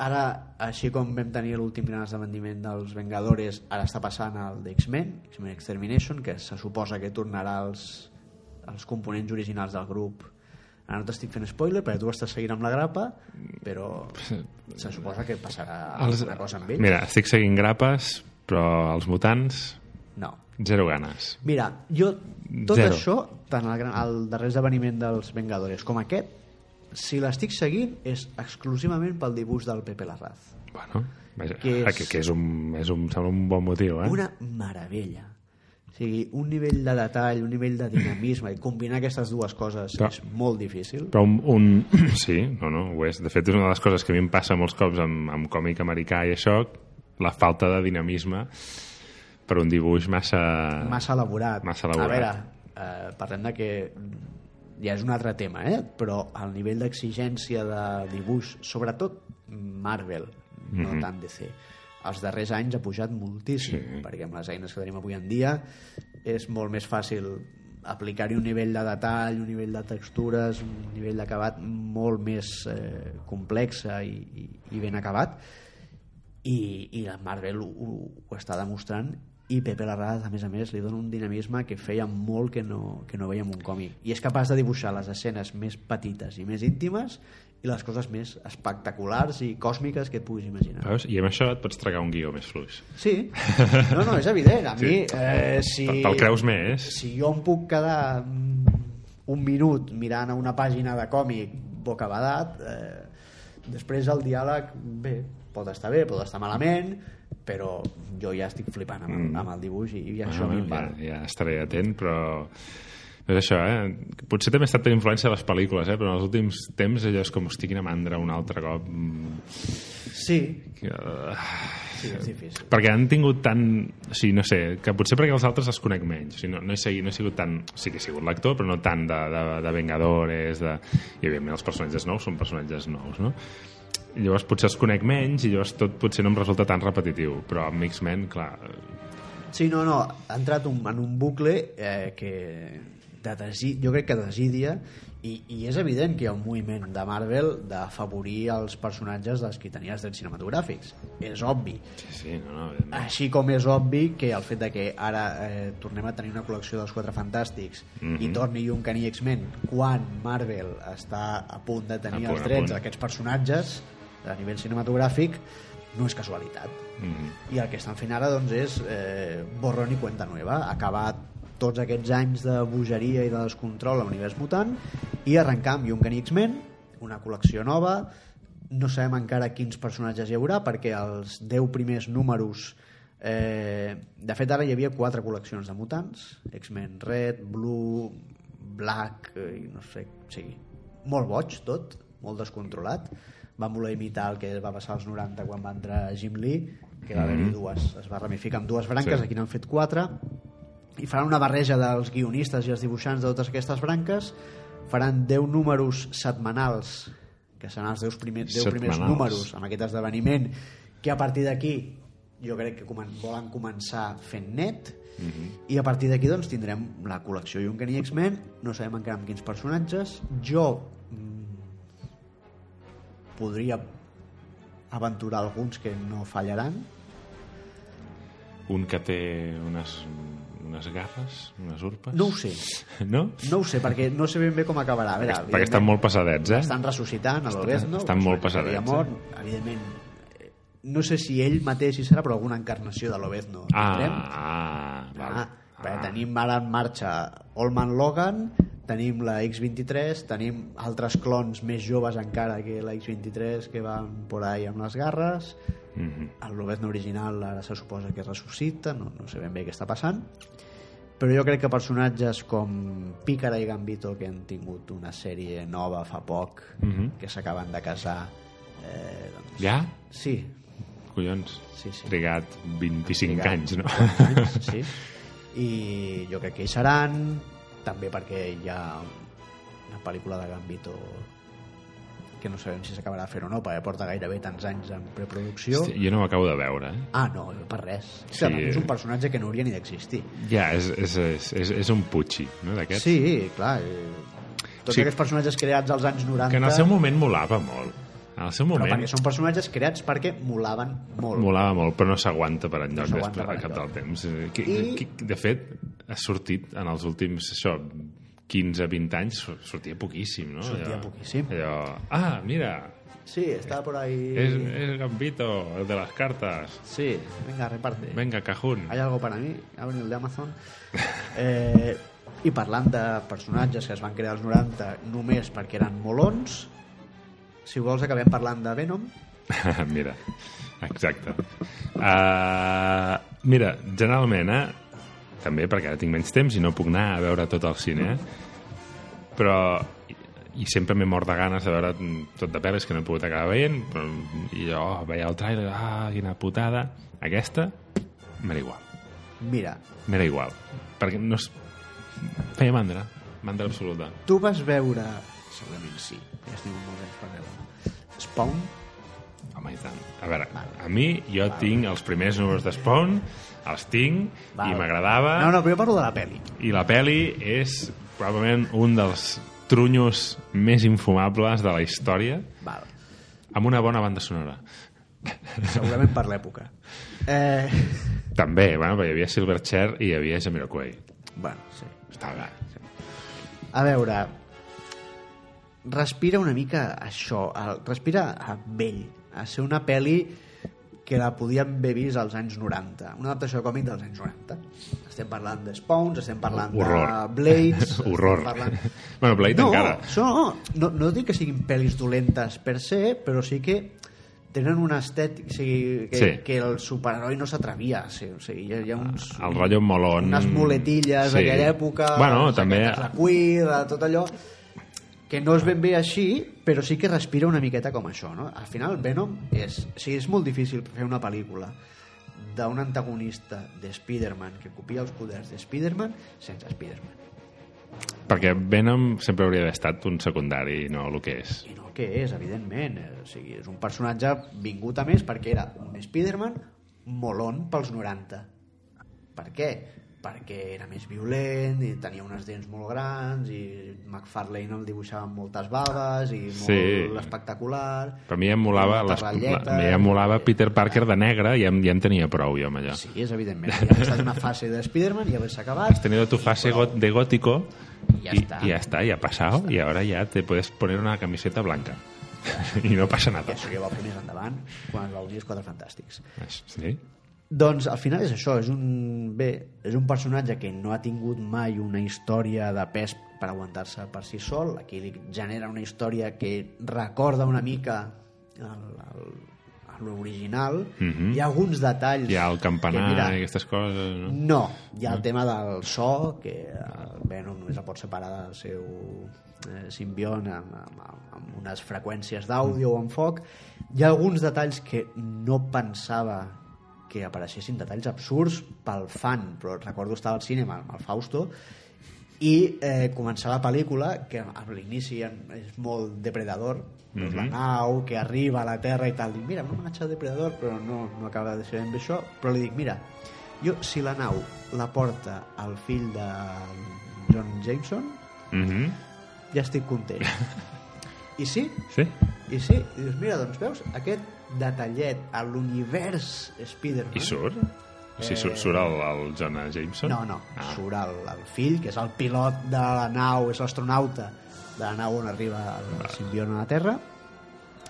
Ara, així com vam tenir l'últim gran esdeveniment dels Vengadores, ara està passant el d'X-Men, X-Men Extermination, que se suposa que tornarà als, als components originals del grup. Ara no t'estic fent spoiler, perquè tu estàs seguint amb la grapa, però se suposa que passarà Els- alguna cosa amb ells. Mira, estic seguint grapes, però els mutants, No. zero ganes. Mira, jo tot Zero. això, tant el, gran- el darrer esdeveniment dels Vengadores com aquest, si l'estic seguint és exclusivament pel dibuix del Pepe Larraz. Bueno, vaja, Que és- que, que és, un, és un, sembla un bon motiu, eh? Una meravella. O sigui, un nivell de detall, un nivell de dinamisme i combinar aquestes dues coses Però- és molt difícil. Però un, un... Sí, no, no, ho és. De fet, és una de les coses que a mi em passa molts cops amb, amb còmic americà i això, la falta de dinamisme per un dibuix massa... massa elaborat. Massa elaborat. A veure, eh, parlem de que mm, ja és un altre tema, eh? però el nivell d'exigència de dibuix, sobretot Marvel, no Mhm. tant DC, els darrers anys ha pujat moltíssim, perquè amb les eines que tenim avui en dia és molt més fàcil aplicar-hi un nivell de detall, un nivell de textures, un nivell d'acabat molt més eh, complexa i, i, i ben acabat i, i la Marvel ho, ho, ho està demostrant i Pepe Larraz, a més a més, li dona un dinamisme que feia molt que no, que no veiem un còmic. I és capaç de dibuixar les escenes més petites i més íntimes i les coses més espectaculars i còsmiques que et puguis imaginar. Veus? I amb això et pots tragar un guió més fluix. Sí, no, no, és evident. A mi, eh, si, Te'l te'l creus més? si jo em puc quedar mm, un minut mirant a una pàgina de còmic bocabadat, eh, després el diàleg, bé, pot estar bé, pot estar malament, però jo ja estic flipant amb, el- amb el dibuix i, i això Ah, ja, m'invada. ja estaré atent, però... No és això, eh? Potser també ha estat per influència de les pel·lícules, eh? Però en els últims temps allò és com estic a mandra un altre cop. mm, Sí, que, eh, sí, és difícil. perquè han tingut tant... O sigui, no sé, que potser perquè els altres els conec menys. O sigui, no, no, he seguit, no he sigut tan... Sí que he sigut l'actor, però no tant de, de, de Vengadores, de... I, evidentment, els personatges nous són personatges nous, no? I llavors potser els conec menys i llavors tot potser no em resulta tan repetitiu. Però amb X-Men, clar... Sí, no, no, ha entrat un, en un bucle eh, que de desi, jo crec que desídia i, i és evident que hi ha un moviment de Marvel d'afavorir els personatges dels qui tenia els drets cinematogràfics. És obvi. Sí, sí, no, no, evidentment. Així com és obvi que el fet de que ara eh, tornem a tenir una col·lecció dels Quatre Fantàstics i Mhm. torni un Caní X-Men quan Marvel està a punt de tenir A punt, els a drets punt. d'aquests personatges a nivell cinematogràfic no és casualitat Mm. i el que estan fent ara doncs, és eh, borrón i cuenta nueva acabar tots aquests anys de bogeria i de descontrol a l'univers mutant i arrencar amb Jungan X-Men una col·lecció nova no sabem encara quins personatges hi haurà perquè els 10 primers números eh, de fet ara hi havia quatre col·leccions de mutants X-Men Red, Blue Black eh, i no sé, sí, molt boig tot, molt descontrolat van voler imitar el que va passar als 90 quan va entrar Jim Lee que va haver-hi dues, es va ramificar amb dues branques Sí. aquí n'han fet quatre i faran una barreja dels guionistes i els dibuixants de totes aquestes branques faran 10 números setmanals que seran els 10 primers, 10 primers Setmanals. números amb aquest esdeveniment que a partir d'aquí jo crec que comen volen començar fent net mm -hmm. i a partir d'aquí doncs tindrem la col·lecció Junker i X-Men no sabem encara amb quins personatges jo mm, podria aventurar alguns que no fallaran Un que té unes, unes garres, unes urpes... no ho sé, No? no ho sé perquè no sé ben bé com acabarà a veure, Perquè estan evidentment- molt passadets, eh? estan ressuscitant el Lobezno estan molt personatge que pesadets, havia mort, evidentment eh, no sé si ell mateix hi serà però alguna encarnació de Lobezno Ah, tindrem. ah, val. ah, perquè tenim ara en marxa Old Man Logan tenim la X-23 tenim altres clons més joves encara que la X-23 que van por ahí amb les garres Mhm. el Lobezno original ara se suposa que ressuscita no, no sé ben bé què està passant però jo crec que personatges com Pícara i Gambito que han tingut una sèrie nova fa poc Mhm. que s'acaben de casar eh, doncs, Ja? sí, Collons. sí, sí Trigat 25 Trigat. anys, no? anys, sí. i jo crec que hi seran també perquè hi ha una pel·lícula de Gambito que no sabem si s'acabarà fent o no, perquè porta gairebé tants anys en preproducció. Hosti, jo no m'acabo de veure, eh? Ah, no, per res. Sí, Sí. És un personatge que no hauria ni d'existir. Ja, és, és, és, és, és un putxi, no, d'aquest? Sí, clar. eh, Tots Sí. aquests personatges creats als anys 90... Que en el seu moment molava molt. En el seu Però moment perquè són personatges creats perquè molaven molt. molava molt, però no s'aguanta per enlloc No no s'aguanta després, per al cap del enlloc. temps. Eh, Que, I- I... que, de fet, ha sortit en els últims, això, 15-20 anys, sur- sortia poquíssim, no? Sortia poquíssim. Allò, ah, mira, Sí, estava por ahí... és, és Gambito, el de les cartes. Sí, venga, reparte. Venga, cajun. Hay algo para mí, ha venido el de Amazon. Eh, I parlant de personatges que es van crear als 90 només perquè eren molons, si vols acabem parlant de Venom. mira, exacte. Uh, mira, generalment, eh, també perquè ara tinc menys temps i no puc anar a veure tot el cine, eh, però i sempre m'he mort de ganes de veure tot de pel·lis que no he pogut acabar veient però, i jo veia el trailer ah, quina putada aquesta m'era igual Mira, m'era igual perquè no es... feia mandra mandra absoluta tu vas veure... Segurament sí, ja estic molt anys per veure. Spawn? Home, i tant. A veure, a mi jo tinc els primers números de Spawn, els tinc, Val. i m'agradava, No, no, però jo parlo de la peli. i la peli és probablement un dels trunyos més infumables de la història, Val. amb una bona banda sonora. Segurament per l'època. Eh, També, bueno, perquè hi havia Silverchair i hi havia Jamiroquai. bueno, sí. Estava... A veure, respira una mica això, el, respira a vell, a ser una pel·li que la podíem haver vist als anys 90, una adaptació de còmic dels anys 90. Estem parlant de Spawns, estem parlant Horror. de Blades... Horror. estem Parlant... Bueno, Blade No, encara. són, no, no dic que siguin pel·lis dolentes per se, però sí que tenen una estètica... O sigui, que, Sí. Ah, que el superheroi no s'atrevia a ser. O sigui, hi ha, hi ha uns, El rotllo molon... unes muletilles sí. d'aquella època Bueno, les també... jaquetes de cuir, de tot allò que no es ben bé així però sí que respira una miqueta com això no? al final Venom és o sigui, és molt difícil fer una pel·lícula d'un antagonista de Spider-Man que copia els poders de Spider-Man sense Spider-Man Perquè Venom sempre hauria d'haver estat un secundari, no el que és. i no el que és, evidentment eh, o sigui, és un personatge vingut a més perquè era un Spider-Man molon pels 90 Per què? Perquè era més violent i tenia unes dents molt grans i McFarlane el dibuixava amb moltes baves i molt Sí. espectacular. Per mi em molava, Moltes les, ratlletes. la, em molava Peter Parker de negre i ja, en- ja en tenia prou, jo, amb allò. Sí, és evidentment. Ja ha estat una fase de Spider-Man i haver-se acabat. Has tenido tu fase got- de gótico Y ya y, está. y ya está, ya ha pasado y ahora ya te puedes poner una camiseta blanca y no pasa I nada. això ja va fer més endavant, quan es va unir els Quatre Fantàstics. Sí, Doncs al final és això, és un, bé, és un personatge que no ha tingut mai una història de pes per aguantar-se per si sol, aquí li genera una història que recorda una mica el- el- a l'original, Mhm. hi ha alguns detalls... hi ha el campanar que, i mira, aquestes coses... No? no, hi ha el tema del so, que el Venom només el pot separar del seu eh, simbiont amb, amb, amb unes freqüències d'àudio o amb foc. Hi ha alguns detalls que no pensava que apareixessin detalls absurds pel fan, però recordo estar al cinema amb el Fausto i eh, començar la pel·lícula que a l'inici en- és molt depredador mm Mhm. -hmm. la nau que arriba a la Terra i tal dic, mira, un homenatge a depredador però no, no acaba de ser ben bé això però li dic, mira, jo si la nau la porta el fill de John Jameson Mm. Mhm. ja estic content i sí, Sí? i sí i dius, mira, doncs veus aquest detallet a l'univers Spider-Man I surt? O sigui, surt, surt el, el Jonah Jameson? Eh. No, no, ah. Ah, surt el, el fill, que és el pilot de la nau, és l'astronauta de la nau on arriba el simbion a la Terra,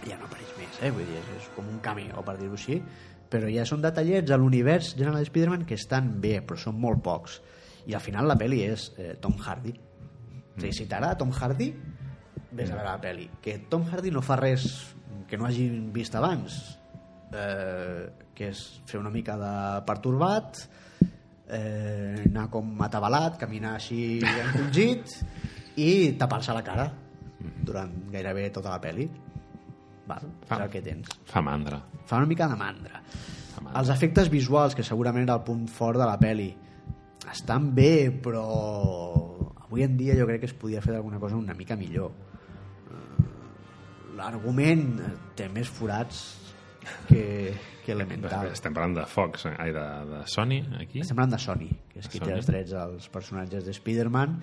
i ja no apareix més, eh? Vull dir, és, és com un cameo, per dir-ho així, però ja són detallets a l'univers general de Spider-Man que estan bé, però són molt pocs. I al final la peli és eh, Tom Hardy. O sigui, si t'agrada Tom Hardy, vés a veure la peli. Que Tom Hardy no fa res que no hagin vist abans, eh, que és fer una mica de pertorbat, eh, anar com atabalat, caminar així encongit i tapar-se la cara durant gairebé tota la pel·li. Val, és el que tens. fa mandra. Fa una mica de mandra. Fa mandra. Els efectes visuals, que segurament era el punt fort de la peli, estan bé, però amb avui en dia jo crec que es podia fer d'alguna cosa una mica millor. Eh, L'argument té més forats que, que elemental. Estem parlant de Fox, eh? ai, de, de Sony, aquí? Estem parlant de Sony, que és qui Sony. té els drets als personatges de Spider-Man,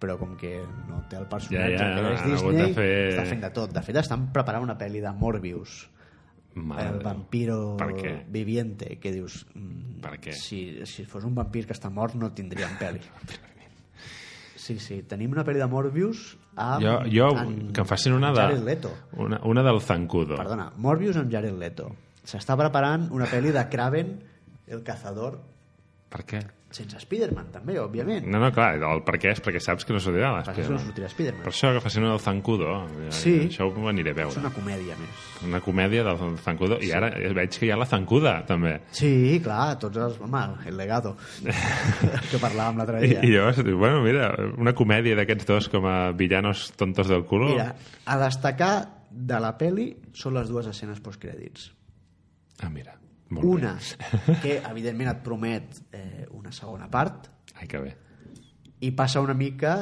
però com que no té el personatge Ja, ja, que és han hagut Disney, de fer- està fent de tot. De fet, estan preparant una pel·li de Morbius, Mare el de Déu. vampiro Per què? viviente, que dius... mm, Per què? Si, si fos un vampir que està mort no tindríem pel·li. Sí, sí, tenim una pel·li de Morbius amb... Jo, jo amb- que em facin una amb de... Jared Leto. Una, una del Zancudo. Perdona, Morbius amb Jared Leto. S'està preparant una pel·li de Kraven, el cazador, Per què? sense Spider-Man, també, òbviament. No, no, clar, el per què és perquè saps que no sortirà Per això l'Spiderman. no sortirà Spider-Man. Per això que facin una del Zancudo. Ja, Sí. Això ho aniré a És veure. una comèdia més. Una comèdia del Zancudo. I ara veig que hi ha la Zancuda, també. Sí, clar, tots els... Home, el legado, que parlàvem l'altre I, dia. I llavors dic, bueno, mira, una comèdia d'aquests dos com a villanos tontos del culo. Mira, a destacar de la peli són les dues escenes postcrèdits. Ah, mira. Molt Una, Bé. que evidentment et promet eh, una segona part, Ai, que bé. i passa una mica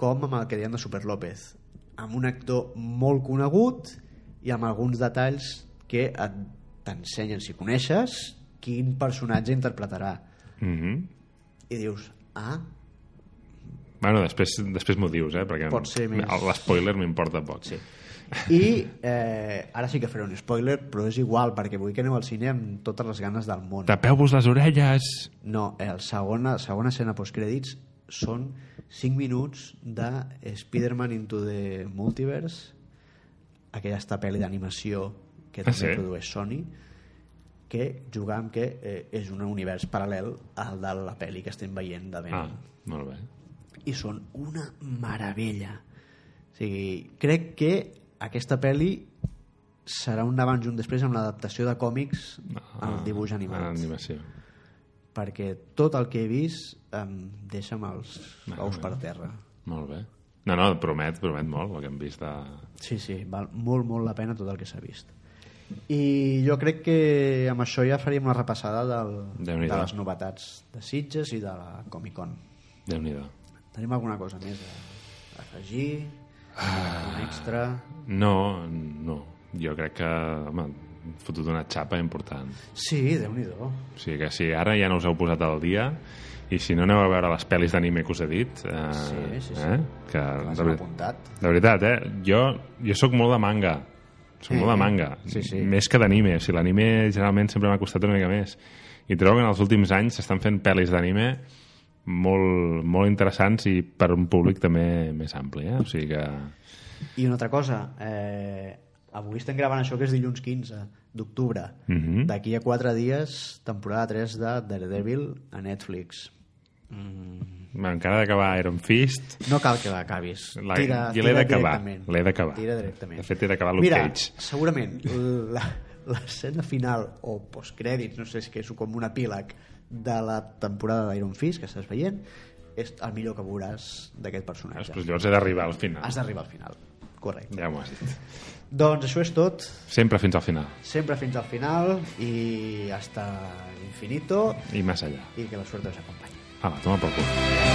com amb el que diem de Super López, amb un actor molt conegut i amb alguns detalls que et- t'ensenyen, si coneixes, quin personatge interpretarà. Mm I dius, ah, Bueno, després, després m'ho dius, eh? Perquè Pot ser més. l'espoiler m'importa poc. Sí. I eh, ara sí que faré un spoiler, però és igual, perquè vull que aneu al cine amb totes les ganes del món. Tapeu-vos les orelles! No, eh, el segon, la segona escena postcrèdits són 5 minuts de Spider-Man into the Multiverse, aquella esta pel·li d'animació que Ah, també sí? produeix Sony, que juga amb que eh, és un univers paral·lel al de la pel·li que estem veient de ben Ah, molt bé. i són una meravella. O sigui, crec que aquesta pel·li serà un abans i un després amb l'adaptació de còmics al dibuix Ah, animat. animació. Perquè tot el que he vist em deixa amb els ous per terra. Molt bé. No, no, promet, promet molt el que hem vist de... Sí, sí, val molt, molt la pena tot el que s'ha vist. I jo crec que amb això ja faríem una repassada del, de Déu-n'hi-do. les novetats de Sitges i de la Comic-Con. déu nhi Tenim alguna cosa més a afegir? Un extra? No, no. Jo crec que, home, hem fotut una xapa important. Sí, Déu-n'hi-do. O sigui que si ara ja no us heu posat al dia i si no aneu a veure les pel·lis d'anime que us he dit... Eh, Sí, sí, sí. Eh? Que, L'has de, veritat, apuntat. de veritat, eh? Jo, jo sóc molt de manga. Sóc molt de manga. Mm-hmm. Sí, sí. Més que d'anime. O sigui, l'anime generalment sempre m'ha costat una mica més. I trobo que en els últims anys s'estan fent pel·lis d'anime molt, molt interessants i per un públic també més ampli. Eh? O sigui que... I una altra cosa, eh, avui estem gravant això que és dilluns 15 d'octubre. Mhm. D'aquí a 4 dies, temporada 3 de Daredevil a Netflix. Mm, Encara d'acabar Iron Fist... no cal que l'acabis. La- Tira, jo l'he tira d'acabar, directament. l'he d'acabar. Tira directament. De fet, he d'acabar Luke Mira, Cage. segurament la- l'escena final o postcrèdits, no sé si que és com un epíleg de la temporada d'Iron Fist que estàs veient, és el millor que veuràs d'aquest personatge. Després llavors doncs, he d'arribar al final. Has d'arribar al final. Correcte. Ja m'ho has dit. Doncs això és tot. Sempre fins al final. Sempre fins al final i hasta l'infinito I més allà. i que la sort us acompanyi. Apa, toma por culo. Adéu.